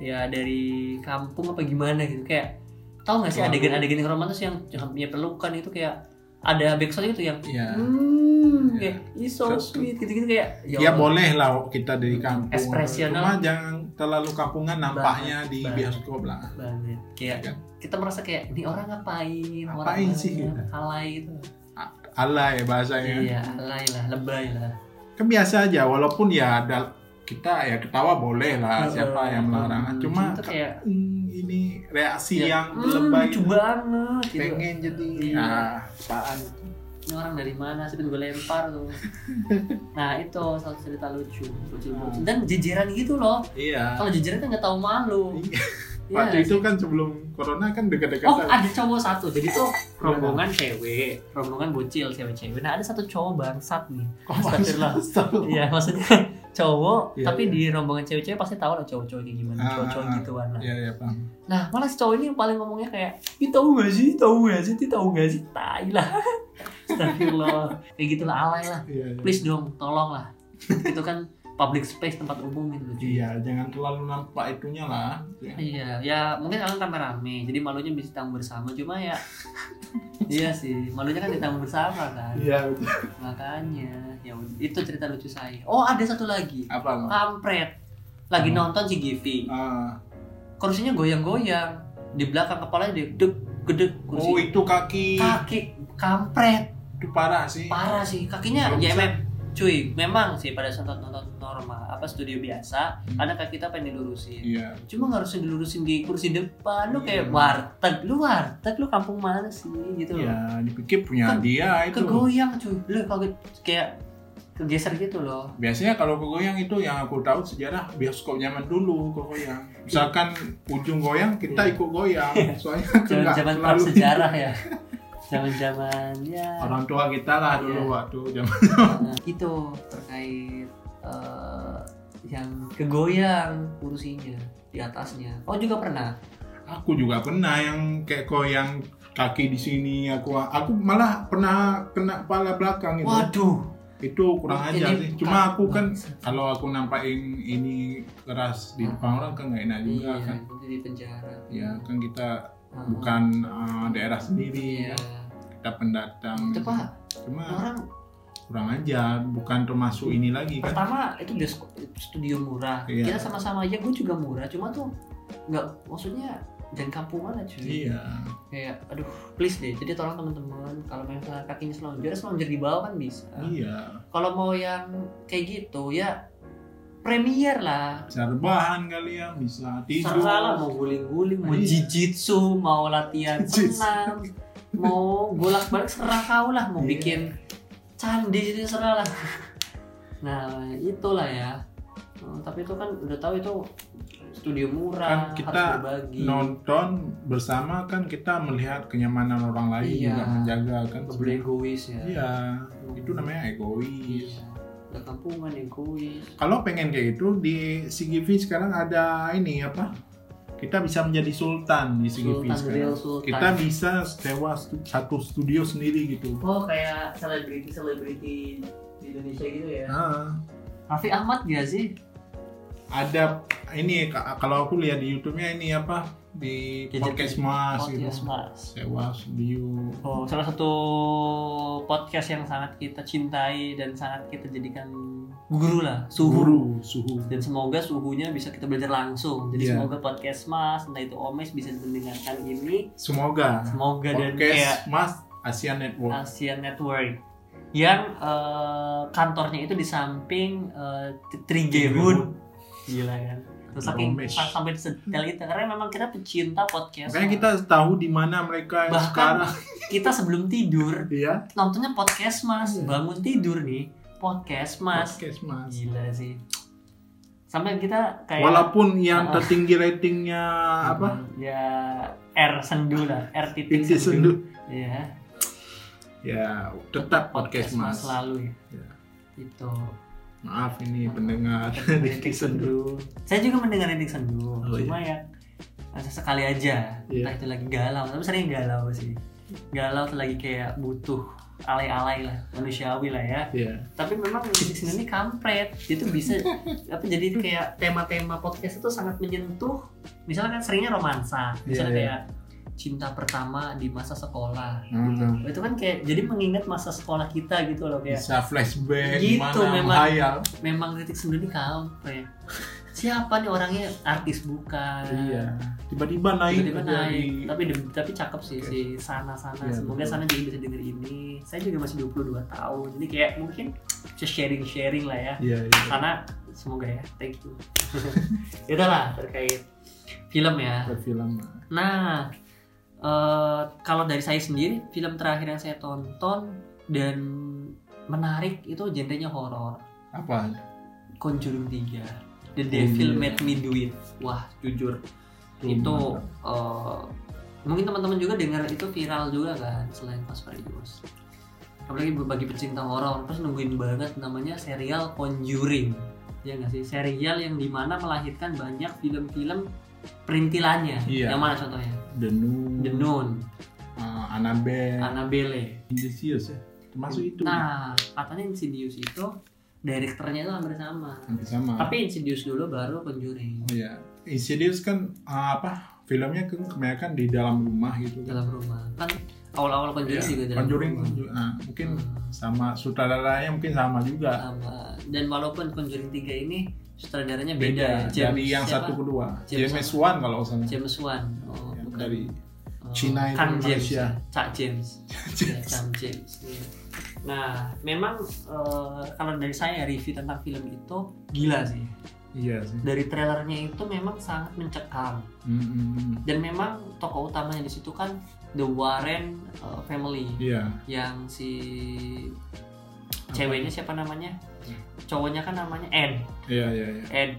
[SPEAKER 1] ya dari kampung apa gimana gitu kayak tahu nggak sih
[SPEAKER 2] Lalu-
[SPEAKER 1] adegan-adegan yang romantis yang yang punya pelukan itu kayak ada backsound itu yang
[SPEAKER 2] Iya.
[SPEAKER 1] hmm,
[SPEAKER 2] Iya.
[SPEAKER 1] kayak "It's so
[SPEAKER 2] Terus-
[SPEAKER 1] sweet gitu-gitu kayak
[SPEAKER 2] Ya
[SPEAKER 1] Allah.
[SPEAKER 2] boleh lah kita dari kampung.
[SPEAKER 1] Ekspresional.
[SPEAKER 2] Cuma jangan terlalu kampungan nampaknya
[SPEAKER 1] Banget,
[SPEAKER 2] di
[SPEAKER 1] banget.
[SPEAKER 2] bioskop lah.
[SPEAKER 1] banget kayak
[SPEAKER 2] Kan?
[SPEAKER 1] kita merasa kayak ini orang ngapain
[SPEAKER 2] Ngapain
[SPEAKER 1] orang
[SPEAKER 2] sih?
[SPEAKER 1] mana, alay gitu
[SPEAKER 2] Alay bahasanya.
[SPEAKER 1] iya alay lah lebay lah
[SPEAKER 2] Kan biasa aja walaupun ya ada kita ya ketawa boleh lah siapa yang melarang.
[SPEAKER 1] Hmm,
[SPEAKER 2] Cuma
[SPEAKER 1] itu kayak
[SPEAKER 2] "Hmm, ini reaksi
[SPEAKER 1] Ya,
[SPEAKER 2] yang
[SPEAKER 1] "Hmm,
[SPEAKER 2] lebay.
[SPEAKER 1] lucu banget gitu.
[SPEAKER 2] Pengen jadi
[SPEAKER 1] Iya.
[SPEAKER 2] ah, apaan itu.
[SPEAKER 1] ini orang dari mana sih gue lempar tuh nah itu satu cerita lucu lucu
[SPEAKER 2] Hmm.
[SPEAKER 1] lucu dan jejeran gitu loh
[SPEAKER 2] Iya.
[SPEAKER 1] kalau jejeran kan nggak tahu malu
[SPEAKER 2] Iya.
[SPEAKER 1] Iya
[SPEAKER 2] Waktu
[SPEAKER 1] nggak
[SPEAKER 2] itu
[SPEAKER 1] sih?
[SPEAKER 2] kan sebelum corona kan dekat-dekat
[SPEAKER 1] Oh ada cowok satu, jadi tuh rombongan
[SPEAKER 2] Iya.
[SPEAKER 1] cewek, rombongan bocil cewek-cewek. Nah ada satu cowok bangsat nih, Astagfirullah. Iya maksudnya cowok,
[SPEAKER 2] Iya,
[SPEAKER 1] tapi
[SPEAKER 2] iya.
[SPEAKER 1] di rombongan cewek-cewek pasti tahu lah cowok-cowok kayak gimana,
[SPEAKER 2] Ah,
[SPEAKER 1] cowok-cowok
[SPEAKER 2] ah, ah.
[SPEAKER 1] gituan lah.
[SPEAKER 2] Iya iya paham.
[SPEAKER 1] Nah malah si cowok ini yang paling ngomongnya kayak, "Ih tahu gak sih, tahu gak sih, Ih, tahu gak sih, tai lah." Astagfirullah, kayak gitulah alay lah.
[SPEAKER 2] Iya iya.
[SPEAKER 1] Please dong, tolong lah. Itu kan public space tempat umum gitu. cuy.
[SPEAKER 2] Iya, jangan terlalu nampak itunya lah. Iya.
[SPEAKER 1] Iya, ya mungkin kalian tambah rame, jadi malunya bisa ditanggung bersama. Cuma ya, iya sih, malunya kan ditanggung bersama kan.
[SPEAKER 2] Iya.
[SPEAKER 1] Makanya, ya ud- itu cerita lucu saya. Oh ada satu lagi.
[SPEAKER 2] Apa? Mak?
[SPEAKER 1] kampret lagi
[SPEAKER 2] Hmm.
[SPEAKER 1] nonton si Givi
[SPEAKER 2] Ah.
[SPEAKER 1] kursinya goyang-goyang di belakang kepalanya dia gedek gedek kursi
[SPEAKER 2] oh, itu kaki.
[SPEAKER 1] kaki kampret
[SPEAKER 2] Itu parah sih.
[SPEAKER 1] parah sih kakinya
[SPEAKER 2] Belum
[SPEAKER 1] ya
[SPEAKER 2] bisa.
[SPEAKER 1] mem cuy memang sih pada saat nonton normal apa studio biasa
[SPEAKER 2] Hmm.
[SPEAKER 1] karena kaki kita pengen dilurusin
[SPEAKER 2] Iya.
[SPEAKER 1] cuma nggak harusnya dilurusin di kursi depan lu kayak
[SPEAKER 2] Iya.
[SPEAKER 1] warteg lu warteg lu kampung mana sih gitu
[SPEAKER 2] Iya,
[SPEAKER 1] loh
[SPEAKER 2] dipikir punya
[SPEAKER 1] Kan-
[SPEAKER 2] dia itu.
[SPEAKER 1] kegoyang cuy lu kaget kayak kegeser gitu loh
[SPEAKER 2] Biasanya kalau kegoyang itu yang aku tahu sejarah bioskop zaman dulu kegoyang. Misalkan ujung goyang kita
[SPEAKER 1] Iya.
[SPEAKER 2] ikut goyang. Soalnya
[SPEAKER 1] zaman
[SPEAKER 2] nggak
[SPEAKER 1] zaman
[SPEAKER 2] terlalu-
[SPEAKER 1] sejarah ya zaman zamannya
[SPEAKER 2] Orang tua kita lah dulu
[SPEAKER 1] Iya.
[SPEAKER 2] waktu zaman.
[SPEAKER 1] Nah, itu terkait eh, yang kegoyang kursinya di atasnya. Oh juga pernah.
[SPEAKER 2] Aku juga pernah yang kayak goyang kaki di sini aku aku malah pernah kena kepala belakang itu.
[SPEAKER 1] Waduh.
[SPEAKER 2] Itu kurang
[SPEAKER 1] Ini
[SPEAKER 2] ajar sih. Cuma aku kan
[SPEAKER 1] Bangsat.
[SPEAKER 2] kalau aku nampakin ini keras di depan orang kan nggak enak juga
[SPEAKER 1] iya,
[SPEAKER 2] kan
[SPEAKER 1] nanti di penjara.
[SPEAKER 2] ya kan kita
[SPEAKER 1] Heeh.
[SPEAKER 2] bukan uh, daerah sendiri
[SPEAKER 1] Iya.
[SPEAKER 2] kita pendatang
[SPEAKER 1] Itu
[SPEAKER 2] gitu.
[SPEAKER 1] pak
[SPEAKER 2] cuma
[SPEAKER 1] orang
[SPEAKER 2] kurang aja bukan termasuk ini lagi kan
[SPEAKER 1] pertama itu bioskop studio murah.
[SPEAKER 2] Iya.
[SPEAKER 1] Kita sama-sama aja, gue juga murah. Cuma tuh nggak maksudnya dan kampungan aja.
[SPEAKER 2] iya
[SPEAKER 1] Kayak aduh please deh. Jadi tolong teman-teman kalau misalnya kakinya selonjor, selonjor di bawah kan bisa.
[SPEAKER 2] iya
[SPEAKER 1] kalau mau yang kayak gitu ya premier lah
[SPEAKER 2] bisa rebahan kali ya bisa tidur
[SPEAKER 1] serah lah mau guling-guling mau
[SPEAKER 2] Iya.
[SPEAKER 1] jijitsu mau latihan
[SPEAKER 2] Jijitsu.
[SPEAKER 1] senam mau bolak-balik serah kau lah mau
[SPEAKER 2] Iya.
[SPEAKER 1] bikin Sandi sini serah lah nah itulah ya Eh, tapi itu kan udah tahu itu studio murah
[SPEAKER 2] Kan kita
[SPEAKER 1] harus berbagi
[SPEAKER 2] nonton bersama kan kita melihat kenyamanan orang lain
[SPEAKER 1] Iya.
[SPEAKER 2] juga menjaga kan
[SPEAKER 1] Berbeda egois ya
[SPEAKER 2] iya itu namanya egois
[SPEAKER 1] Iya. udah kampungan egois
[SPEAKER 2] kalau pengen kayak gitu di CGV sekarang ada ini apa kita bisa menjadi sultan di CGV
[SPEAKER 1] Sultan
[SPEAKER 2] sekarang
[SPEAKER 1] real sultan
[SPEAKER 2] kan? kita bisa sewa stu- satu studio sendiri gitu
[SPEAKER 1] oh kayak selebriti selebriti di Indonesia gitu ya
[SPEAKER 2] Ah,
[SPEAKER 1] Raffi Ahmad gak sih
[SPEAKER 2] ada ini ka- kalau aku lihat di YouTube-nya ini apa di
[SPEAKER 1] Gadget-
[SPEAKER 2] podcast mas gitu
[SPEAKER 1] Podcast Mas.
[SPEAKER 2] sewa studio
[SPEAKER 1] Oh, salah satu podcast yang sangat kita cintai dan sangat kita jadikan guru lah, suhu.
[SPEAKER 2] guru suhu
[SPEAKER 1] Dan semoga suhunya bisa kita belajar langsung. Jadi
[SPEAKER 2] Iya.
[SPEAKER 1] semoga podcast Mas, entah itu Omes bisa mendengarkan ini.
[SPEAKER 2] semoga
[SPEAKER 1] Semoga dan kayak
[SPEAKER 2] podcast mas Asia Network
[SPEAKER 1] Asian Network yang eh, kantornya itu di samping eh, Trigehun. Gila kan. Terus saking
[SPEAKER 2] Omes.
[SPEAKER 1] sampai sedetail itu karena memang kita pecinta podcast.
[SPEAKER 2] makanya kita tahu di mana mereka yang
[SPEAKER 1] Bahkan-
[SPEAKER 2] sekarang
[SPEAKER 1] kita sebelum tidur
[SPEAKER 2] ya
[SPEAKER 1] nontonnya podcast mas
[SPEAKER 2] Iya.
[SPEAKER 1] bangun tidur nih podcast mas
[SPEAKER 2] podcast mas
[SPEAKER 1] gila sih sampai kita kayak
[SPEAKER 2] walaupun
[SPEAKER 1] Ah.
[SPEAKER 2] yang tertinggi ratingnya
[SPEAKER 1] Hmm,
[SPEAKER 2] apa
[SPEAKER 1] ya R sendu lah R titik
[SPEAKER 2] Inti
[SPEAKER 1] sendu,
[SPEAKER 2] sendu
[SPEAKER 1] Iya,
[SPEAKER 2] ya tetap podcast mas
[SPEAKER 1] selalu ya
[SPEAKER 2] Iya.
[SPEAKER 1] itu
[SPEAKER 2] maaf ini pendengar
[SPEAKER 1] titik sendu saya juga mendengar titik sendu
[SPEAKER 2] Oh,
[SPEAKER 1] cuma ya sekali aja
[SPEAKER 2] Iya.
[SPEAKER 1] entah itu lagi galau tapi sering galau sih galau tuh lagi kayak butuh alay-alay lah manusiawi lah ya
[SPEAKER 2] ya
[SPEAKER 1] tapi memang musik sendiri ini kampret dia tuh bisa apa jadi kayak tema-tema podcast itu sangat menyentuh misalnya kan seringnya romansa misalnya
[SPEAKER 2] Iya, iya.
[SPEAKER 1] kayak cinta pertama di masa sekolah
[SPEAKER 2] Hmm.
[SPEAKER 1] itu kan kayak jadi mengingat masa sekolah kita gitu loh kayak
[SPEAKER 2] bisa flashback
[SPEAKER 1] Gitu
[SPEAKER 2] gimana
[SPEAKER 1] memang. Nah.
[SPEAKER 2] menghayal
[SPEAKER 1] memang titik sendu ini kampret siapa nih orangnya artis bukan
[SPEAKER 2] iya tiba-tiba naik
[SPEAKER 1] tiba-tiba
[SPEAKER 2] menjadi-
[SPEAKER 1] naik tapi de- tapi cakep sih si sana sana
[SPEAKER 2] Iya,
[SPEAKER 1] semoga
[SPEAKER 2] betul.
[SPEAKER 1] sana juga bisa denger ini saya juga masih 22 tahun jadi kayak mungkin bisa sharing sharing lah ya
[SPEAKER 2] iya iya
[SPEAKER 1] karena semoga ya thank you itulah terkait film ya
[SPEAKER 2] Buat film
[SPEAKER 1] nah eh, kalau dari saya sendiri film terakhir yang saya tonton dan menarik itu genrenya horor
[SPEAKER 2] apa
[SPEAKER 1] Conjuring 3 The Devil
[SPEAKER 2] iya.
[SPEAKER 1] Made Me Do It wah jujur
[SPEAKER 2] Tuh,
[SPEAKER 1] itu
[SPEAKER 2] mantap.
[SPEAKER 1] eh, mungkin teman-teman juga dengar itu viral juga kan selain Pas Prayus apalagi bagi pecinta horor terus nungguin banget namanya serial Conjuring ya nggak sih serial yang dimana melahirkan banyak film-film perintilannya
[SPEAKER 2] Iya.
[SPEAKER 1] yang mana contohnya
[SPEAKER 2] The Nun
[SPEAKER 1] The Nun,
[SPEAKER 2] uh, Annabelle
[SPEAKER 1] Annabelle
[SPEAKER 2] Indisius ya termasuk itu
[SPEAKER 1] Ah. nah katanya Insidious itu direkturnya itu hampir sama
[SPEAKER 2] hampir sama
[SPEAKER 1] tapi Insidious dulu baru Conjuring
[SPEAKER 2] Iya. Insidious kan uh, apa? Filmnya kan kebanyakan di dalam rumah gitu kan. Iya,
[SPEAKER 1] dalam rumah kan awal-awal Conjuring juga dalam
[SPEAKER 2] Conjuring
[SPEAKER 1] rumah
[SPEAKER 2] juga. Ah, mungkin
[SPEAKER 1] Hmm.
[SPEAKER 2] sama sutradaranya mungkin sama juga.
[SPEAKER 1] sama dan walaupun Conjuring 3 ini sutradaranya Ah,
[SPEAKER 2] Beda
[SPEAKER 1] beda, James
[SPEAKER 2] dari yang
[SPEAKER 1] siapa?
[SPEAKER 2] satu kedua.
[SPEAKER 1] James
[SPEAKER 2] James, Wan kalau nggak salah.
[SPEAKER 1] James Wan oh,
[SPEAKER 2] Yang
[SPEAKER 1] bukan.
[SPEAKER 2] dari
[SPEAKER 1] Oh,
[SPEAKER 2] Cina itu
[SPEAKER 1] Kang James
[SPEAKER 2] Malaysia.
[SPEAKER 1] ya. Cak James Ya, Kang James iya. nah memang eh, kalau dari saya review tentang film itu gila sih
[SPEAKER 2] Iya sih.
[SPEAKER 1] dari trailernya itu memang sangat mencekam
[SPEAKER 2] Mm, mm, mm.
[SPEAKER 1] dan memang tokoh utamanya di situ kan The Warren eh, family
[SPEAKER 2] Iya.
[SPEAKER 1] yang si ceweknya siapa namanya
[SPEAKER 2] Hmm.
[SPEAKER 1] cowoknya kan namanya N
[SPEAKER 2] Iya iya iya.
[SPEAKER 1] Ed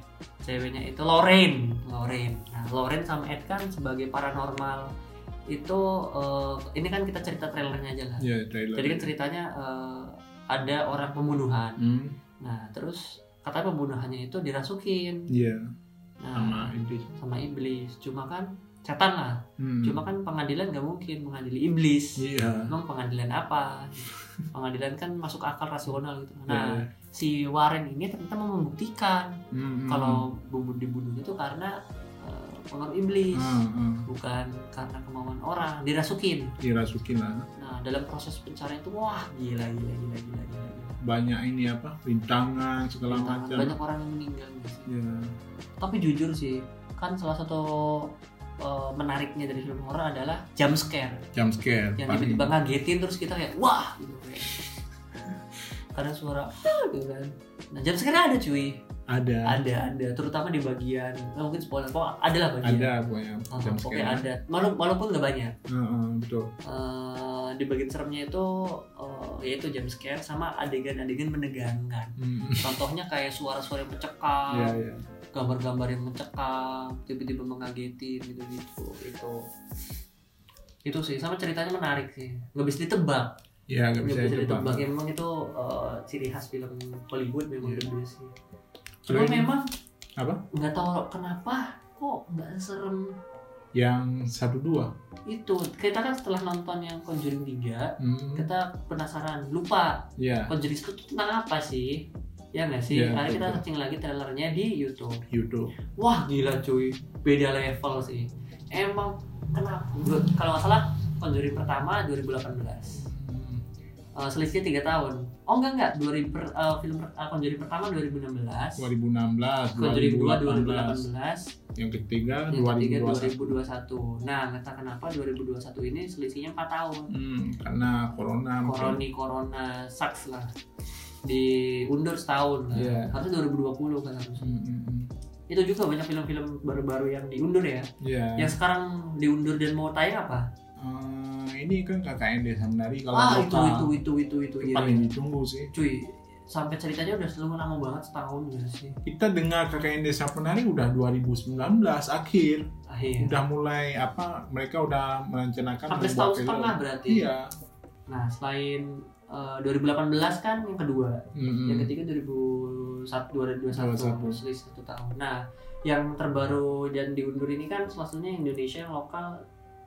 [SPEAKER 1] ceweknya itu Lorraine Lorraine nah Lorraine sama Ed kan sebagai paranormal itu eh, ini kan kita cerita trailernya aja lah
[SPEAKER 2] Iya trailer.
[SPEAKER 1] jadi kan ceritanya eh, ada orang pembunuhan
[SPEAKER 2] Hmm,
[SPEAKER 1] nah terus katanya pembunuhannya itu dirasukin
[SPEAKER 2] Iya.
[SPEAKER 1] nah,
[SPEAKER 2] Sama Idris.
[SPEAKER 1] sama iblis cuma kan setan lah
[SPEAKER 2] Hmm.
[SPEAKER 1] cuma kan pengadilan nggak mungkin mengadili iblis
[SPEAKER 2] Iya.
[SPEAKER 1] emang pengadilan apa pengadilan kan masuk akal rasional gitu nah
[SPEAKER 2] Iya.
[SPEAKER 1] si Warren ini ternyata mau membuktikan
[SPEAKER 2] Mm, mm.
[SPEAKER 1] kalau bunuh dibunuh itu karena eh, pengaruh iblis
[SPEAKER 2] Ah, ah.
[SPEAKER 1] bukan karena kemauan orang dirasukin
[SPEAKER 2] dirasukin lah
[SPEAKER 1] nah dalam proses pencarian itu wah gila gila gila gila gila, gila.
[SPEAKER 2] banyak ini apa rintangan segala
[SPEAKER 1] Tantangan,
[SPEAKER 2] macam
[SPEAKER 1] Iya, banyak orang yang meninggal gitu sih.
[SPEAKER 2] Iya.
[SPEAKER 1] tapi jujur sih kan salah satu eh, menariknya dari film horor adalah jump scare
[SPEAKER 2] jump scare
[SPEAKER 1] yang
[SPEAKER 2] paling.
[SPEAKER 1] tiba-tiba kan ngagetin terus kita kayak wah gitu kayak karena suara "Ah," gitu kan nah jump scare ada cuy
[SPEAKER 2] ada
[SPEAKER 1] ada ada terutama di bagian eh, mungkin spoiler kok ada lah bagian
[SPEAKER 2] ada pokoknya
[SPEAKER 1] Oh,
[SPEAKER 2] jam
[SPEAKER 1] Oke
[SPEAKER 2] sekian.
[SPEAKER 1] ada, Walau- walaupun nggak banyak.
[SPEAKER 2] Heeh, hmm, betul
[SPEAKER 1] Eh, di bagian seremnya itu eh, yaitu jump scare sama adegan-adegan menegangkan.
[SPEAKER 2] Hmm.
[SPEAKER 1] Contohnya kayak suara-suara yang mencekam,
[SPEAKER 2] Iya, iya.
[SPEAKER 1] gambar-gambar yang mencekam, tiba-tiba mengagetin gitu-gitu. Itu itu sih sama ceritanya menarik sih nggak bisa ditebak
[SPEAKER 2] Iya, nggak
[SPEAKER 1] nggak
[SPEAKER 2] bisa
[SPEAKER 1] bisa
[SPEAKER 2] ditebak.
[SPEAKER 1] ditebak ya, memang itu eh, ciri khas film Hollywood memang
[SPEAKER 2] Iya.
[SPEAKER 1] gitu sih cuma
[SPEAKER 2] Selain-
[SPEAKER 1] memang
[SPEAKER 2] Apa?
[SPEAKER 1] nggak tahu kenapa kok nggak serem
[SPEAKER 2] Yang satu dua.
[SPEAKER 1] itu kita kan setelah nonton yang Conjuring 3
[SPEAKER 2] Hmm.
[SPEAKER 1] kita penasaran lupa
[SPEAKER 2] Iya.
[SPEAKER 1] Conjuring itu tentang apa sih ya nggak sih
[SPEAKER 2] Iya,
[SPEAKER 1] akhirnya kita
[SPEAKER 2] betul.
[SPEAKER 1] searching lagi trailernya di YouTube
[SPEAKER 2] Yudo.
[SPEAKER 1] wah gila cuy beda level sih emang kenapa Gua- kalau nggak salah Conjuring pertama 2018
[SPEAKER 2] Hmm.
[SPEAKER 1] Eh, selisihnya 3 tahun oh enggak enggak 2000 per- eh, film per- eh, Conjuring pertama 2016
[SPEAKER 2] 2016,
[SPEAKER 1] Conjuring 2
[SPEAKER 2] 2018,
[SPEAKER 1] 2018
[SPEAKER 2] yang ketiga
[SPEAKER 1] yang ketiga
[SPEAKER 2] 2021.
[SPEAKER 1] 2021. Nah, entah kenapa 2021 ini selisihnya 4 tahun.
[SPEAKER 2] Hmm, karena corona. mungkin.
[SPEAKER 1] Koroni corona sucks lah. Diundur setahun. lah.
[SPEAKER 2] Iya.
[SPEAKER 1] Harusnya 2020 kan harusnya.
[SPEAKER 2] Hmm, hmm, hmm.
[SPEAKER 1] Itu juga banyak film-film baru-baru yang diundur ya.
[SPEAKER 2] Iya.
[SPEAKER 1] Yang sekarang diundur dan mau tayang apa?
[SPEAKER 2] Eh, ini kan KKN Desa Menari kalau
[SPEAKER 1] ah, itu itu
[SPEAKER 2] mereka
[SPEAKER 1] itu itu itu. iya.
[SPEAKER 2] paling ditunggu sih.
[SPEAKER 1] Cuy, sampai ceritanya udah selalu lama banget setahun gitu sih.
[SPEAKER 2] Kita dengar KKN Desa Menari udah 2019 akhir.
[SPEAKER 1] Akhir.
[SPEAKER 2] Udah mulai apa mereka udah merencanakan
[SPEAKER 1] Iya. Hampir
[SPEAKER 2] membuat
[SPEAKER 1] setahun setengah berarti.
[SPEAKER 2] Iya.
[SPEAKER 1] Nah, selain eh, 2018 kan yang kedua.
[SPEAKER 2] Hmm,
[SPEAKER 1] yang ketiga 2001 2021
[SPEAKER 2] 2021.
[SPEAKER 1] selisih satu tahun nah yang terbaru dan diundur ini kan salah satunya Indonesia yang lokal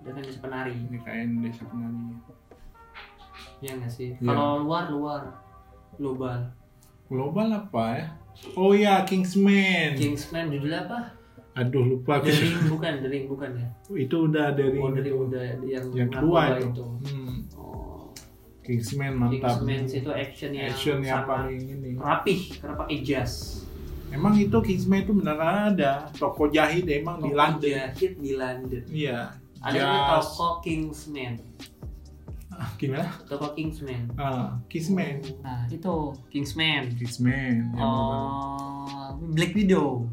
[SPEAKER 1] dengan desa penari
[SPEAKER 2] Ini KKN Desa Menari.
[SPEAKER 1] ya nggak sih
[SPEAKER 2] Iya.
[SPEAKER 1] kalau luar luar global
[SPEAKER 2] Global apa ya? Oh ya Kingsman.
[SPEAKER 1] Kingsman judulnya apa
[SPEAKER 2] Aduh lupa
[SPEAKER 1] The
[SPEAKER 2] aku.
[SPEAKER 1] Ring bukan The Ring bukan ya
[SPEAKER 2] itu udah dari
[SPEAKER 1] Iya. oh The Ring udah yang,
[SPEAKER 2] yang
[SPEAKER 1] narkoba
[SPEAKER 2] kedua itu. Hmm,
[SPEAKER 1] Oh,
[SPEAKER 2] Kingsman mantap.
[SPEAKER 1] Kingsman itu action yang
[SPEAKER 2] Action yang
[SPEAKER 1] sangat
[SPEAKER 2] paling ini.
[SPEAKER 1] rapih Eh, karena pakai jas
[SPEAKER 2] Emang itu Kingsman itu beneran ada toko jahit emang di London.
[SPEAKER 1] jahit di London
[SPEAKER 2] Iya.
[SPEAKER 1] ada namanya toko Kingsman
[SPEAKER 2] Ah, Gimana?
[SPEAKER 1] toko Kingsman
[SPEAKER 2] Ah, Kingsman.
[SPEAKER 1] Nah, itu Kingsman.
[SPEAKER 2] Kingsman. yang beneran.
[SPEAKER 1] Oh, Black Widow.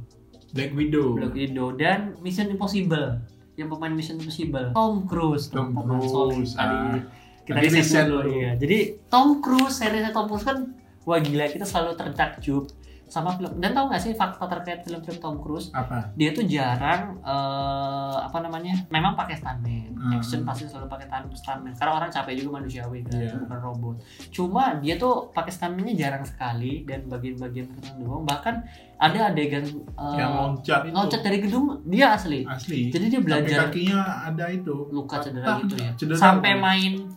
[SPEAKER 2] Black Widow.
[SPEAKER 1] Black Widow dan Mission Impossible. Yang pemain Mission Impossible. Tom Cruise.
[SPEAKER 2] Tom
[SPEAKER 1] Teman-teman, sorry,
[SPEAKER 2] Cruise,
[SPEAKER 1] Tadi
[SPEAKER 2] ah.
[SPEAKER 1] kita
[SPEAKER 2] Tadi
[SPEAKER 1] riset
[SPEAKER 2] riset
[SPEAKER 1] dulu,
[SPEAKER 2] dulu.
[SPEAKER 1] iya. Jadi Tom Cruise, seriesnya Tom Cruise kan wah gila, kita selalu tertakjub sama film. Dan tau gak sih fakta terkait film-film Tom Cruise?
[SPEAKER 2] Apa?
[SPEAKER 1] Dia tuh jarang eh, apa namanya? Memang pakai stuntman.
[SPEAKER 2] Hmm.
[SPEAKER 1] Action pasti selalu pakai tan- stuntman. Karena orang capek juga manusiawi kan,
[SPEAKER 2] Iya.
[SPEAKER 1] bukan robot. Cuma dia tuh pakai stuntman-nya jarang sekali dan bagian-bagian tertentu doang. Bahkan ada adegan eh,
[SPEAKER 2] yang loncat itu.
[SPEAKER 1] loncat dari gedung dia asli.
[SPEAKER 2] Asli.
[SPEAKER 1] Jadi dia
[SPEAKER 2] Sampai
[SPEAKER 1] belajar
[SPEAKER 2] kakinya ada itu.
[SPEAKER 1] luka cedera
[SPEAKER 2] Patah,
[SPEAKER 1] gitu ya.
[SPEAKER 2] cedera.
[SPEAKER 1] Sampai main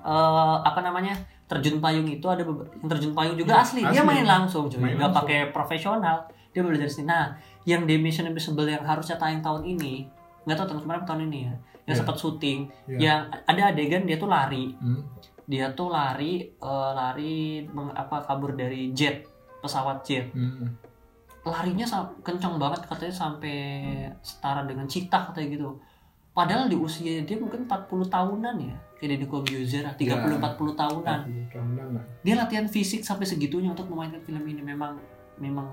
[SPEAKER 1] eh, apa namanya? terjun payung itu ada beba- yang terjun payung juga asli. Dia
[SPEAKER 2] Iya, asli.
[SPEAKER 1] main langsung cuy,
[SPEAKER 2] Main
[SPEAKER 1] nggak
[SPEAKER 2] langsung.
[SPEAKER 1] pakai profesional. Dia belajar sini. Nah, yang di Mission Impossible yang harusnya tayang tahun ini, nggak tahu tahun kemarin atau tahun ini ya. Yang
[SPEAKER 2] Iya.
[SPEAKER 1] sempat syuting,
[SPEAKER 2] Iya.
[SPEAKER 1] yang ada adegan dia tuh lari.
[SPEAKER 2] Hmm,
[SPEAKER 1] Dia tuh lari eh, lari meng- apa kabur dari jet, pesawat jet.
[SPEAKER 2] hmm.
[SPEAKER 1] Larinya sa- kencang banget katanya sampai setara dengan cita katanya gitu. Padahal di usia dia mungkin 40 tahunan ya. Kayak Deddy Corbuzier 30
[SPEAKER 2] Iya.
[SPEAKER 1] 40 tahunan.
[SPEAKER 2] Tendang lah.
[SPEAKER 1] Dia latihan fisik sampai segitunya untuk memainkan film ini memang memang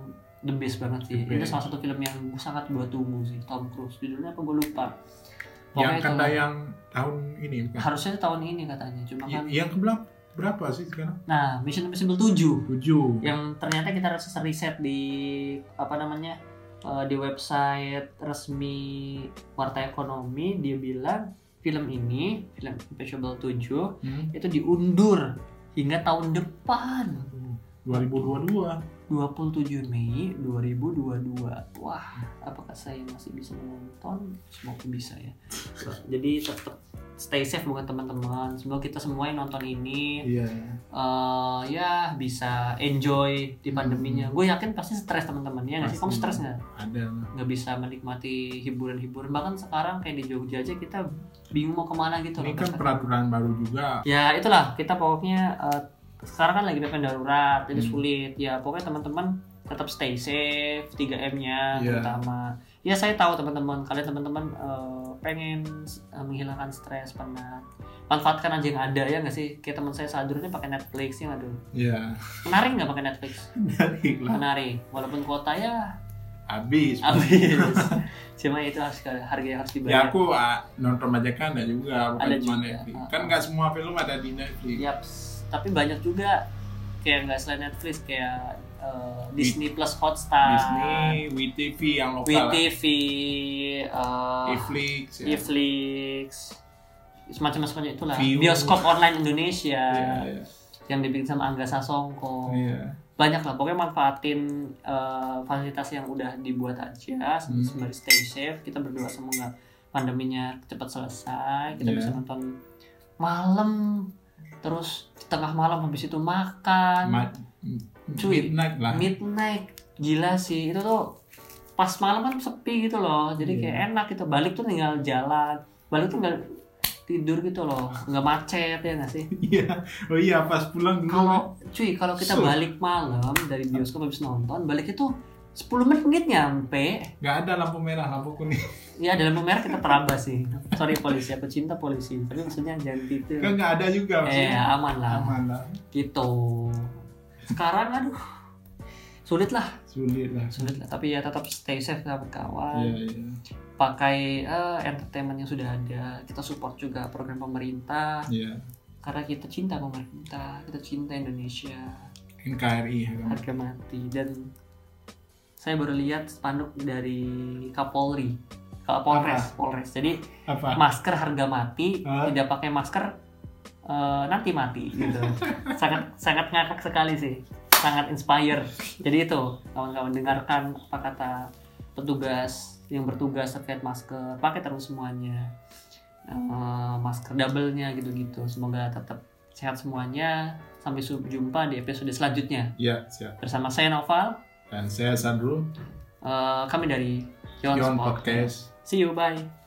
[SPEAKER 1] the best banget sih.
[SPEAKER 2] The
[SPEAKER 1] Itu
[SPEAKER 2] best.
[SPEAKER 1] salah satu film yang gua sangat gua tunggu sih. Tom Cruise. Judulnya apa gua lupa.
[SPEAKER 2] Yang
[SPEAKER 1] Pokoknya itu-
[SPEAKER 2] kata yang tahun ini bukan?
[SPEAKER 1] harusnya tahun ini katanya cuma kan
[SPEAKER 2] Y- yang keberapa? Berapa sih sekarang?
[SPEAKER 1] nah Mission Impossible 7
[SPEAKER 2] Tujuh.
[SPEAKER 1] yang ternyata kita harus riset di apa namanya eh, di website resmi Warta Ekonomi dia bilang film ini film Impossible 7
[SPEAKER 2] Hmm,
[SPEAKER 1] itu diundur hingga tahun depan
[SPEAKER 2] 2022.
[SPEAKER 1] 27 Mei 2022 Wah, apakah saya masih bisa menonton? Semoga bisa ya Jadi tetap stay safe bukan teman-teman Semoga kita semua yang nonton ini
[SPEAKER 2] Iya.
[SPEAKER 1] eh ya bisa enjoy di pandeminya. Gue yakin pasti stres teman-teman ya nggak sih? Kamu
[SPEAKER 2] Hmm. Pasti.
[SPEAKER 1] stres nggak?
[SPEAKER 2] Ada lah.
[SPEAKER 1] Nggak bisa menikmati hiburan-hiburan. Bahkan sekarang kayak di Jogja aja kita bingung mau kemana gitu. loh,
[SPEAKER 2] Ini kan
[SPEAKER 1] bahkan.
[SPEAKER 2] peraturan baru juga.
[SPEAKER 1] Ya itulah kita pokoknya eh, sekarang kan lagi ppkm darurat, jadi
[SPEAKER 2] Hmm.
[SPEAKER 1] sulit. Ya pokoknya teman-teman tetap stay safe, 3M-nya
[SPEAKER 2] Iya.
[SPEAKER 1] terutama. Ya saya tahu teman-teman, kalian teman-teman eh, pengen eh, menghilangkan stres, penat. Manfaatkan aja yang ada ya nggak sih? Kayak teman saya sadurnya pakai Netflix ya aduh.
[SPEAKER 2] Iya.
[SPEAKER 1] Menarik nggak pakai Netflix?
[SPEAKER 2] Menarik lah.
[SPEAKER 1] Menarik, walaupun kuota ya
[SPEAKER 2] Habis.
[SPEAKER 1] habis. Cuma itu harus harga yang harus dibayar.
[SPEAKER 2] Ya aku ah, nonton bajakan ada juga bukan
[SPEAKER 1] Ada
[SPEAKER 2] cuma
[SPEAKER 1] juga.
[SPEAKER 2] Netflix.
[SPEAKER 1] Ah, Ya.
[SPEAKER 2] Kan
[SPEAKER 1] ah.
[SPEAKER 2] nggak semua film ada di Netflix.
[SPEAKER 1] Yaps. tapi banyak juga kayak nggak selain Netflix kayak eh, Disney plus Hotstar,
[SPEAKER 2] Disney, WeTV yang lokal,
[SPEAKER 1] WeTV, eh,
[SPEAKER 2] Netflix, ya.
[SPEAKER 1] Netflix, semacam semacam itulah.
[SPEAKER 2] Viu.
[SPEAKER 1] Bioskop online Indonesia
[SPEAKER 2] Iya, iya.
[SPEAKER 1] yang dibikin sama Angga Sasongko.
[SPEAKER 2] Iya.
[SPEAKER 1] Banyak lah, pokoknya manfaatin eh, fasilitas yang udah dibuat aja sem-
[SPEAKER 2] Hmm.
[SPEAKER 1] sembari stay safe. Kita berdoa semoga pandeminya cepat selesai. Kita
[SPEAKER 2] Iya.
[SPEAKER 1] bisa nonton malam terus tengah malam habis itu makan.
[SPEAKER 2] Ma-
[SPEAKER 1] Kan Cuy,
[SPEAKER 2] midnight lah.
[SPEAKER 1] midnight gila sih itu tuh pas malam kan sepi gitu loh jadi kayak
[SPEAKER 2] Iya.
[SPEAKER 1] enak gitu balik tuh tinggal jalan balik tuh nggak tidur gitu loh nggak macet ya nggak sih
[SPEAKER 2] Iya. Oh iya, pas pulang dulu.
[SPEAKER 1] kalau cuy kalau kita
[SPEAKER 2] Hmm. Suh.
[SPEAKER 1] balik malam dari bioskop habis nonton balik itu 10 menit nyampe
[SPEAKER 2] nggak ada lampu merah, lampu kuning.
[SPEAKER 1] ya dalam merah kita terabas sih sorry polisi aku cinta polisi tapi maksudnya jangan gitu
[SPEAKER 2] Kan nggak ada juga.
[SPEAKER 1] eh
[SPEAKER 2] maksudnya.
[SPEAKER 1] aman lah
[SPEAKER 2] Aman lah.
[SPEAKER 1] gitu sekarang aduh sulit lah
[SPEAKER 2] Sulit lah.
[SPEAKER 1] sulit lah tapi ya tetap stay safe sama kawan
[SPEAKER 2] Iya, iya.
[SPEAKER 1] pakai eh, entertainment yang sudah ada kita support juga program pemerintah
[SPEAKER 2] Iya.
[SPEAKER 1] karena kita cinta pemerintah kita cinta Indonesia
[SPEAKER 2] NKRI ya, kan.
[SPEAKER 1] harga mati dan saya baru lihat spanduk dari Kapolri Kapolres Polres jadi
[SPEAKER 2] apa?
[SPEAKER 1] masker harga mati
[SPEAKER 2] Hah?
[SPEAKER 1] tidak pakai masker eh, nanti mati gitu sangat sangat ngakak sekali sih sangat inspire jadi itu kawan-kawan dengarkan apa kata petugas yang bertugas terkait masker pakai terus semuanya Eh, masker double-nya gitu-gitu semoga tetap sehat semuanya sampai su- jumpa di episode selanjutnya
[SPEAKER 2] Iya, siap.
[SPEAKER 1] bersama saya Noval
[SPEAKER 2] Dan saya Sandro,
[SPEAKER 1] Eh, kami dari Yon
[SPEAKER 2] Yon
[SPEAKER 1] Podcast
[SPEAKER 2] Podcast.
[SPEAKER 1] see you bye